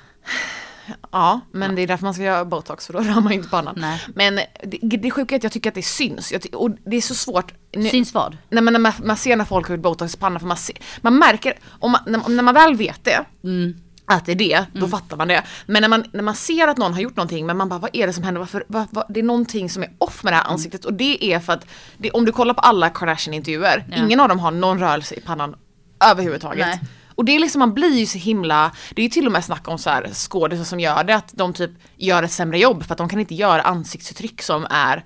Speaker 1: Ja, men det är därför man ska göra botox för då rör man ju inte pannan.
Speaker 2: Nej.
Speaker 1: Men det, det sjuka är att jag tycker att det syns. Jag ty- och det är så svårt. Nu,
Speaker 2: Syns vad?
Speaker 1: Nej men när man, man ser när folk har gjort botox i pannan för man, ser, man märker, om man, när, när man väl vet det,
Speaker 2: Mm.
Speaker 1: att det är det, då fattar man det. Men när man, när man ser att någon har gjort någonting men man bara vad är det som händer? Varför, vad, vad, det är någonting som är off med det här
Speaker 2: Mm.
Speaker 1: ansiktet och det är för att det, om du kollar på alla Kardashian-intervjuer,
Speaker 2: Ja.
Speaker 1: ingen av dem har någon rörelse i pannan överhuvudtaget.
Speaker 2: Nej.
Speaker 1: Och det är liksom, man blir ju så himla, det är ju till och med snack om så här skådisar som gör det, att de typ gör ett sämre jobb för att de kan inte göra ansiktsuttryck som är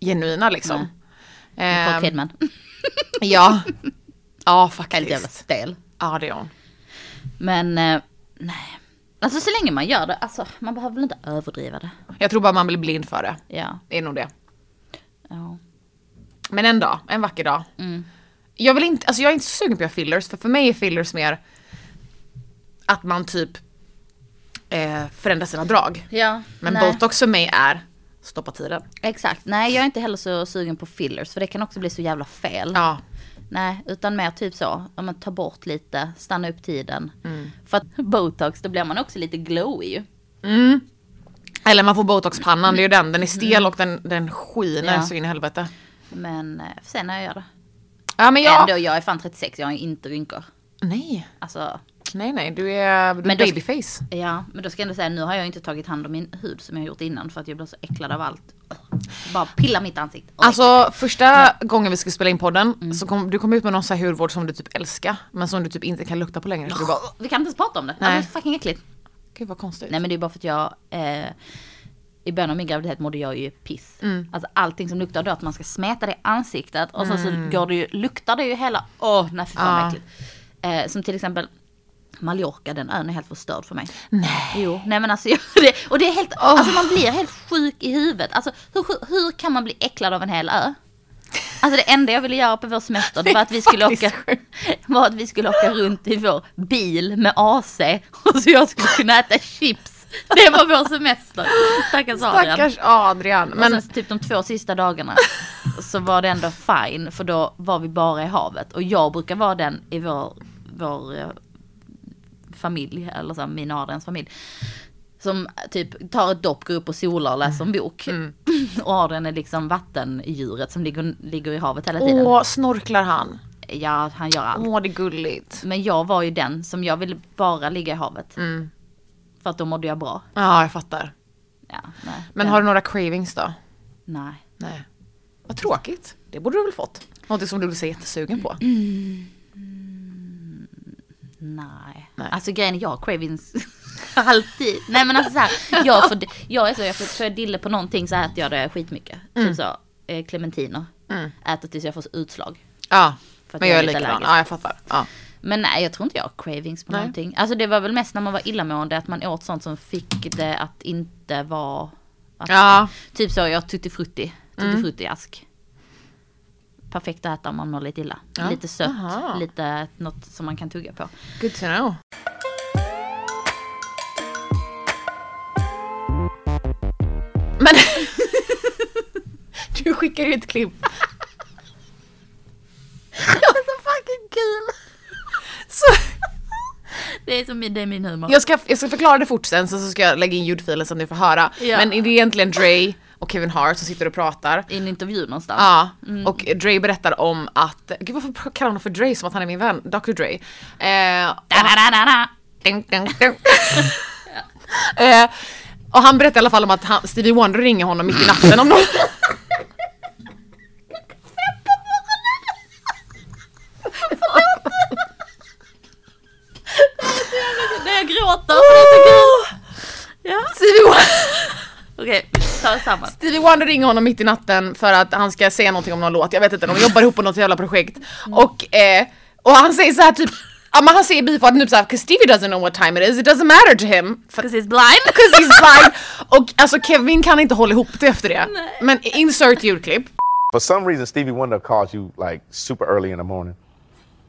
Speaker 1: genuina liksom.
Speaker 2: Nicole
Speaker 1: Ehm,
Speaker 2: Kidman.
Speaker 1: Ja. Ja
Speaker 2: Helt jävla
Speaker 1: faktiskt.
Speaker 2: stel.
Speaker 1: Ja det är hon.
Speaker 2: Men eh, nej. Alltså så länge man gör det, alltså man behöver väl inte överdriva det.
Speaker 1: Jag tror bara man blir blind för det.
Speaker 2: Ja.
Speaker 1: Det är nog det.
Speaker 2: ja. Mm.
Speaker 1: Men en dag, en vacker dag. Jag vill inte, alltså jag är inte så sugen på att göra fillers för för mig är fillers mer att man typ eh, förändrar sina drag.
Speaker 2: ja.
Speaker 1: Men
Speaker 2: nej. Mm.
Speaker 1: botox för mig är stoppa tiden.
Speaker 2: Exakt. Nej jag är inte heller så sugen på fillers för det kan också bli så jävla fel.
Speaker 1: Ja.
Speaker 2: Nej, utan mer typ så, om man tar bort lite, stanna upp tiden. För att botox, då blir man också lite glowy ju.
Speaker 1: Mm. Eller man får botoxpannan, det är ju den. Den är stel och den, den skiner
Speaker 2: Mm. Ja.
Speaker 1: så in i helvete.
Speaker 2: Men eh, får se när jag gör det.
Speaker 1: Ja men jag...
Speaker 2: Ändå, jag är fan 36, jag har inte rynkor.
Speaker 1: Nej.
Speaker 2: Alltså,
Speaker 1: Nej nej, du är, du är
Speaker 2: Men då-
Speaker 1: babyface.
Speaker 2: Ja, men då ska jag ändå säga nu har jag inte tagit hand om min hud som jag gjort innan för att jag blir så äcklad av allt. Bara pilla mitt ansikte.
Speaker 1: Alltså första gången vi skulle spela in podden
Speaker 2: Mm.
Speaker 1: så kom du kom ut med någon så här hudvård som du typ älskar men som du typ inte kan lukta på längre. Så Du bara,
Speaker 2: vi kan inte ens prata om det.
Speaker 1: Nej.
Speaker 2: Nej. Det är fucking äckligt.
Speaker 1: gud vad konstigt.
Speaker 2: Nej men det är bara för att jag eh, i början av min graviditet mådde jag ju piss.
Speaker 1: Mm.
Speaker 2: Alltså allting som luktar då att man ska smeta det i ansiktet och sen så går det ju, luktar det ju hela, åh nej fy fan
Speaker 1: Mm. Ja.
Speaker 2: vad äckligt. Eh, som till exempel Mallorca, den ön är helt förstörd för mig.
Speaker 1: Nej.
Speaker 2: Jo, nej men alltså, jag- det, och det är helt, alltså man blir helt sjuk i huvudet. Alltså hur, sjuk- hur kan man bli äcklad av en hel ö? Alltså det enda jag ville göra på vår semester det var att vi skulle
Speaker 1: faktiskt
Speaker 2: åka, var att vi skulle åka runt i vår bil med AC och så jag skulle kunna äta chips. Det var vår semester. Stackars Adrian.
Speaker 1: Stackars Adrian.
Speaker 2: Men...
Speaker 1: Men
Speaker 2: Och sen typ de två sista dagarna så var det ändå fine för då var vi bara i havet. Och jag brukar vara den i vår, vår eh, familj, eller så här, min och Adrians familj. Som typ tar ett dopp, går upp och solar och läser
Speaker 1: Mm.
Speaker 2: en bok. Och Adrian är liksom vattendjuret som ligger, ligger i havet hela tiden.
Speaker 1: åh, snorklar han?
Speaker 2: Ja, han gör allt.
Speaker 1: Åh, det är gulligt.
Speaker 2: Men jag var ju den som jag ville bara ligga i havet. För att då mådde jag bra.
Speaker 1: Mm. Ja, jag fattar.
Speaker 2: Ja, nej.
Speaker 1: Men har du några cravings då?
Speaker 2: Nej.
Speaker 1: Nej. Vad tråkigt. Det borde du väl fått? Något som du blir så jättesugen på.
Speaker 2: Mm. Nej.
Speaker 1: Nej.
Speaker 2: Alltså grejen är jag har cravings alltid. Nej men alltså så här, jag, får, jag är så, jag får, så jag dille på någonting så äter jag det skitmycket.
Speaker 1: Mm.
Speaker 2: Typ så, eh, clementiner. Äter tills jag får utslag.
Speaker 1: Ja,
Speaker 2: För att
Speaker 1: men
Speaker 2: jag
Speaker 1: jag är
Speaker 2: är lite
Speaker 1: likadan.
Speaker 2: allergisk.
Speaker 1: Ja, jag fattar. Ja.
Speaker 2: Men nej jag tror inte jag har cravings på
Speaker 1: Nej.
Speaker 2: någonting. Alltså det var väl mest när man var illamående att man åt sånt som fick det att inte vara. Att,
Speaker 1: Ja. Mm.
Speaker 2: Typ så jag tuttifrutti, tuttifrutti-ask. Perfekt att äta om man mår lite illa.
Speaker 1: Ja.
Speaker 2: Lite sött,
Speaker 1: Aha.
Speaker 2: lite något som man kan tugga på.
Speaker 1: Good to know. Men... du skickar ju ett klipp.
Speaker 2: Det är så fucking kul!
Speaker 1: Så...
Speaker 2: Det är, som, det är min humor.
Speaker 1: Jag ska, jag ska förklara det fort sen, sen så ska jag lägga in ljudfilen så att ni får höra.
Speaker 2: Ja.
Speaker 1: Men det är egentligen Dre och Kevin Hart som sitter och pratar.
Speaker 2: I en intervju någonstans.
Speaker 1: Ja, och Dre berättar om att, gud varför kallar han honom för Dre som att han är min vän? Dr Dre. Eh,
Speaker 2: Da-da-da-da-da.
Speaker 1: Ding, ding, ding. eh, och han berättar i alla fall om att han, Stevie Wonder ringer honom mitt i natten om någon...
Speaker 2: Nej jag gråter för det är så kul. Ja.
Speaker 1: Stevie Wonder...
Speaker 2: Okej, ta oss samman.
Speaker 1: Stevie Wonder ringer honom mitt i natten för att han ska säga någonting om någon låt, jag vet inte, de jobbar ihop på något jävla projekt. Och, eh, och han säger så här typ, ja men han säger i bifarten typ såhär 'cause Stevie doesn't know what time it is, it doesn't matter to him' för,
Speaker 2: 'Cause he's blind.
Speaker 1: 'Cause he's blind! Och alltså Kevin kan inte hålla ihop det efter det.
Speaker 2: Nej.
Speaker 1: Men insert julklipp.
Speaker 4: For some reason, Stevie Wonder calls you like super early in the morning,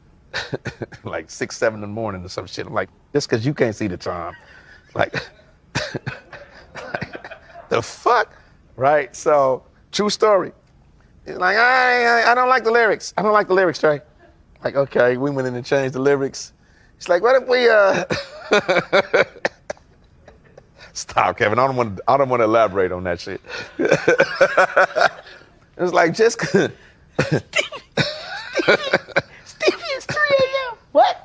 Speaker 4: like six, seven in the morning or some shit. I'm like, just because you can't see the time, like, the fuck, right? So, true story. It's like, I, I, I don't like the lyrics. I don't like the lyrics, Trey. Like, okay, we went in and changed the lyrics. It's like, what if we uh? Stop, Kevin. I don't want. I don't want to elaborate on that shit. It was like just Stevie, Stevie, it's 3 a.m. What?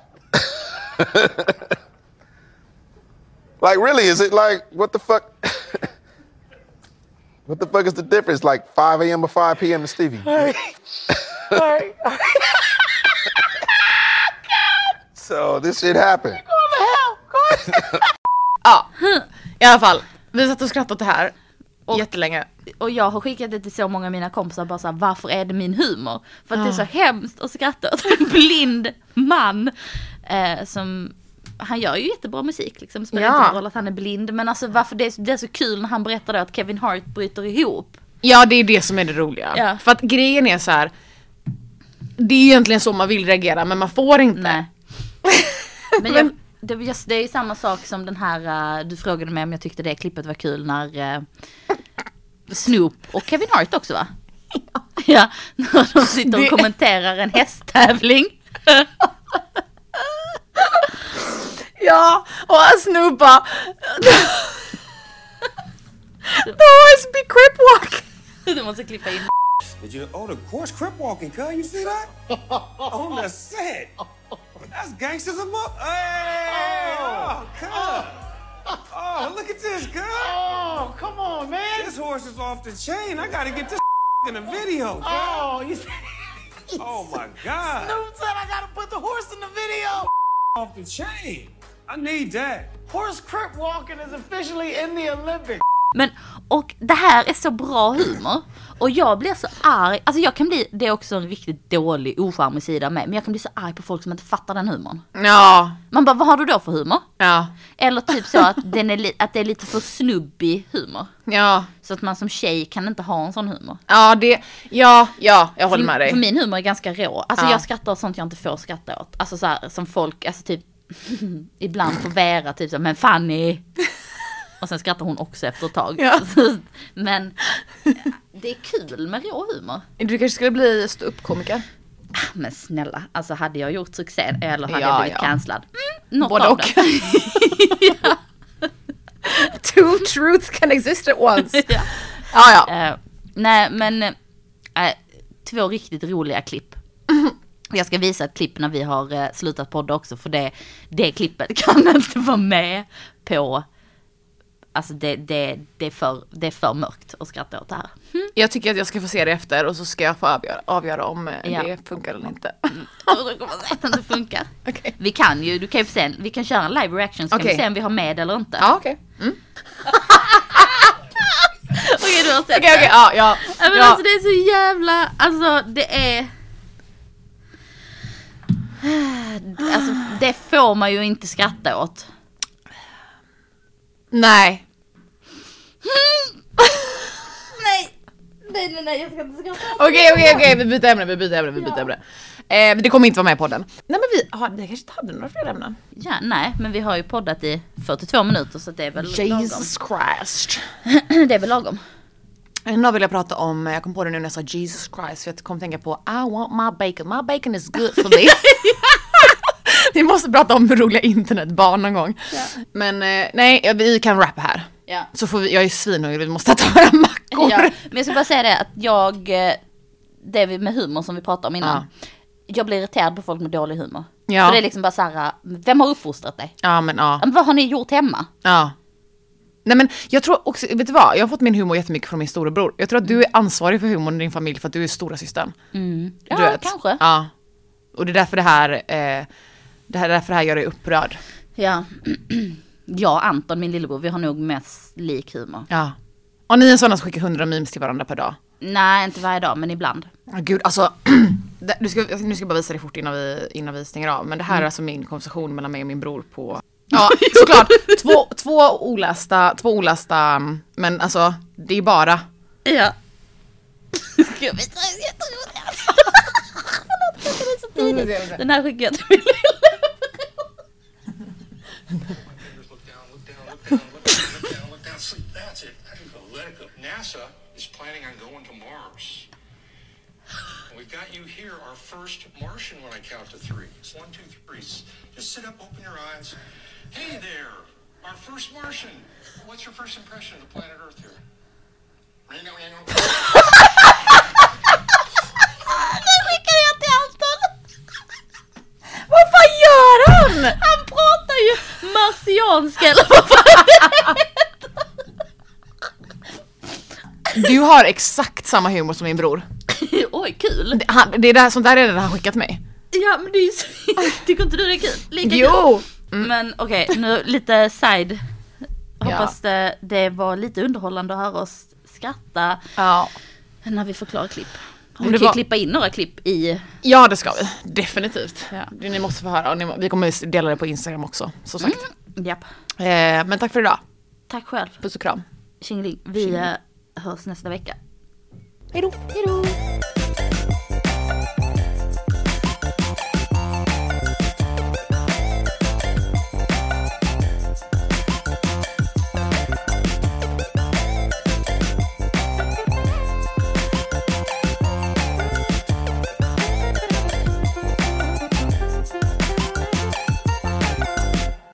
Speaker 4: like really, is it like what the fuck? what the fuck is the difference? Like 5 a.m. or 5 p.m. to Stevie? so this shit happened.
Speaker 1: Ja, i alla fall. Vi satt och skrattade åt det här
Speaker 2: Och-
Speaker 1: jättelänge.
Speaker 2: Och jag har skickat det till så många av mina kompisar bara såhär, varför är det min humor? För att det är så hemskt att skratta åt en blind man. Eh, som, han gör ju jättebra musik liksom, spelar
Speaker 1: Ja.
Speaker 2: inte någon roll att han är blind. Men alltså varför det är, så- det är så kul när han berättar då att Kevin Hart bryter ihop.
Speaker 1: Ja det är det som är det roliga.
Speaker 2: Ja.
Speaker 1: För att grejen är så här. det är egentligen så man vill reagera men man får inte.
Speaker 2: Nej. Men jag, det, jag, det är ju samma sak som den här, eh, du frågade mig om jag tyckte det klippet var kul när eh, Snoop och Kevin Hart också va? Ja, när de sitter
Speaker 1: Det-
Speaker 2: och kommenterar en hästtävling.
Speaker 1: Ja, och Snoop bara... The horse be crip walk.
Speaker 2: Du måste klippa in.
Speaker 5: Did you? Oh, the course crip walking, cuz. You see that? On the set. That's gangsters of mo- Hey! Oh, God. Oh, look at this, God.
Speaker 4: Oh, come on, man.
Speaker 5: This horse is off the chain. I gotta get this in the video. God.
Speaker 4: oh, you said.
Speaker 5: Oh my God.
Speaker 4: Snoop said I gotta put the horse in the video.
Speaker 5: Off the chain. I need that.
Speaker 4: Horse crip walking is officially in the Olympics.
Speaker 2: Men, och det här är så bra humor. Och jag blir så arg, alltså jag kan bli, det är också en riktigt dålig ocharmig sida med, men jag kan bli så arg på folk som inte fattar den humorn.
Speaker 1: Ja,
Speaker 2: Man bara, vad har du då för humor?
Speaker 1: ja,
Speaker 2: Eller typ så att, den är li- att det är lite för snubbig humor.
Speaker 1: ja,
Speaker 2: Så att man som tjej kan inte ha en sån humor.
Speaker 1: ja, det, ja, ja, jag håller med
Speaker 2: För
Speaker 1: dig.
Speaker 2: min humor är ganska rå. Alltså
Speaker 1: Mm. Ja.
Speaker 2: jag skrattar åt sånt jag inte får skratta åt. Alltså så här, som folk, alltså typ ibland får Vera typ så här, men Fanny! Och sen skrattar hon också efter ett tag.
Speaker 1: Ja.
Speaker 2: men det är kul med rå humor. Ah,
Speaker 1: Du kanske skulle bli ståuppkomiker?
Speaker 2: Men snälla, alltså hade jag gjort succé eller hade
Speaker 1: Ja,
Speaker 2: jag blivit
Speaker 1: ja.
Speaker 2: cancellad? Mm, något
Speaker 1: Både
Speaker 2: av
Speaker 1: och.
Speaker 2: det.
Speaker 1: Two truths can exist at once.
Speaker 2: ja.
Speaker 1: Ja, ja.
Speaker 2: Eh, nej men, eh, två riktigt roliga klipp. Jag ska visa ett klipp när vi har eh, slutat podda också för det, det klippet kan inte vara med på, alltså det, det, det, är, för, det är för mörkt att skratta åt det här.
Speaker 1: Jag tycker att jag ska få se det efter och så ska jag få avgöra, avgöra om eh,
Speaker 2: Ja.
Speaker 1: det funkar eller inte.
Speaker 2: Jag kommer säga att det inte funkar.
Speaker 1: Okej.
Speaker 2: Vi kan ju, du kan ju se, en- vi kan köra en live reaction så kan
Speaker 1: Okej.
Speaker 2: vi se om vi har med eller inte.
Speaker 1: Ja, okej. Mm.
Speaker 2: Okej du har sett
Speaker 1: Okej, okej,
Speaker 2: det.
Speaker 1: ja, ja.
Speaker 2: Ja, men
Speaker 1: ja.
Speaker 2: alltså det är så jävla, alltså det är... Alltså det får man ju inte skratta åt.
Speaker 1: Nej.
Speaker 2: Nej! Nej nej nej jag ska inte skratta åt
Speaker 1: Okej, okej, okej, vi byter ämne, vi byter ämne, vi byter ämne. Eh, men det kommer inte vara med i podden. Nej men vi, har, vi kanske inte hade några fler ämnen.
Speaker 2: Ja nej men vi har ju poddat i 42 minuter så det är väl
Speaker 1: Jesus Christ.
Speaker 2: lagom. Det är väl lagom.
Speaker 1: Idag vill jag prata om, jag kom på det nu när jag sa Jesus Christ, för jag kom att tänka på I want my bacon, my bacon is good for me. Vi måste prata om roliga internetbarn någon gång. Men eh, nej, vi kan rappa här.
Speaker 2: Ja.
Speaker 1: Så får vi, jag är svinhungrig, vi måste ta några mackor.
Speaker 2: Ja, men jag ska bara säga det att jag, eh, det vi- med humor som vi pratade om innan. Jag blir irriterad på folk med dålig humor.
Speaker 1: Ja.
Speaker 2: För det är liksom bara såhär, vem har uppfostrat dig?
Speaker 1: Ja men ja.
Speaker 2: Ja, men Vad har ni gjort hemma?
Speaker 1: Ja. Nej men jag tror också, vet du vad? Jag har fått min humor jättemycket från min storebror. Jag tror att du är ansvarig för humorn i din familj för att du är stora systern.
Speaker 2: Ja
Speaker 1: du vet.
Speaker 2: kanske.
Speaker 1: Ja. Och det är därför det här, eh, det här, därför det här gör dig upprörd.
Speaker 2: Ja. Jag och Anton, min lillebror, vi har nog mest lik humor.
Speaker 1: Ja. Och ni är sådana som skickar hundra memes till varandra per dag.
Speaker 2: Nej, inte varje dag, men ibland.
Speaker 1: Åh, gud, alltså. det- du ska, nu ska jag bara visa dig fort innan vi, innan vi stänger av. Men det här är alltså min konversation mellan mig och min bror på... Ja, såklart. Två, två olästa, två olästa, men alltså det är bara
Speaker 2: Ja. Gud, vi tar det jätteroliga. Förlåt, jag tycker det är så tidigt. Den här skickar jag till min lillebror.
Speaker 6: Look down, look down, look down, look down, look down, look down. Sleep. That's it. I can go. Let it go. NASA is planning on going to Mars. We've got you here, our first Martian when I count to three. It's one, two, three. S- Just sit up, open your eyes. Hey there, our first Martian. What's your first impression of the planet Earth here? Ringo, ringo.
Speaker 2: Den skickade jag till Anton.
Speaker 1: Vad fan gör han?
Speaker 2: Han pratar ju marsianska eller vad fan det heter.
Speaker 1: Du har exakt samma humor som min bror.
Speaker 2: Oj, kul.
Speaker 1: Det- Han, det är det här, sånt där är det han skickat mig.
Speaker 2: Ja, men det är ju så... Tycker inte du det är kul? Lika kul?
Speaker 1: Jo! Mm.
Speaker 2: Men okej, nu lite side.
Speaker 1: Ja.
Speaker 2: Hoppas det, det var lite underhållande att höra oss skratta
Speaker 1: Ja.
Speaker 2: när vi förklarar klipp.
Speaker 1: det
Speaker 2: Vi kan ju
Speaker 1: var-
Speaker 2: klippa in några klipp i...
Speaker 1: ja, det ska vi. Definitivt.
Speaker 2: Ja.
Speaker 1: Det Ni måste få höra och ni, må- vi kommer dela det på Instagram också, som sagt.
Speaker 2: Japp.
Speaker 1: Eh, men tack för idag.
Speaker 2: Tack själv.
Speaker 1: Puss och kram.
Speaker 2: Tjingeling. Vi eh, hörs nästa vecka.
Speaker 1: Hejdå!
Speaker 2: Hejdå!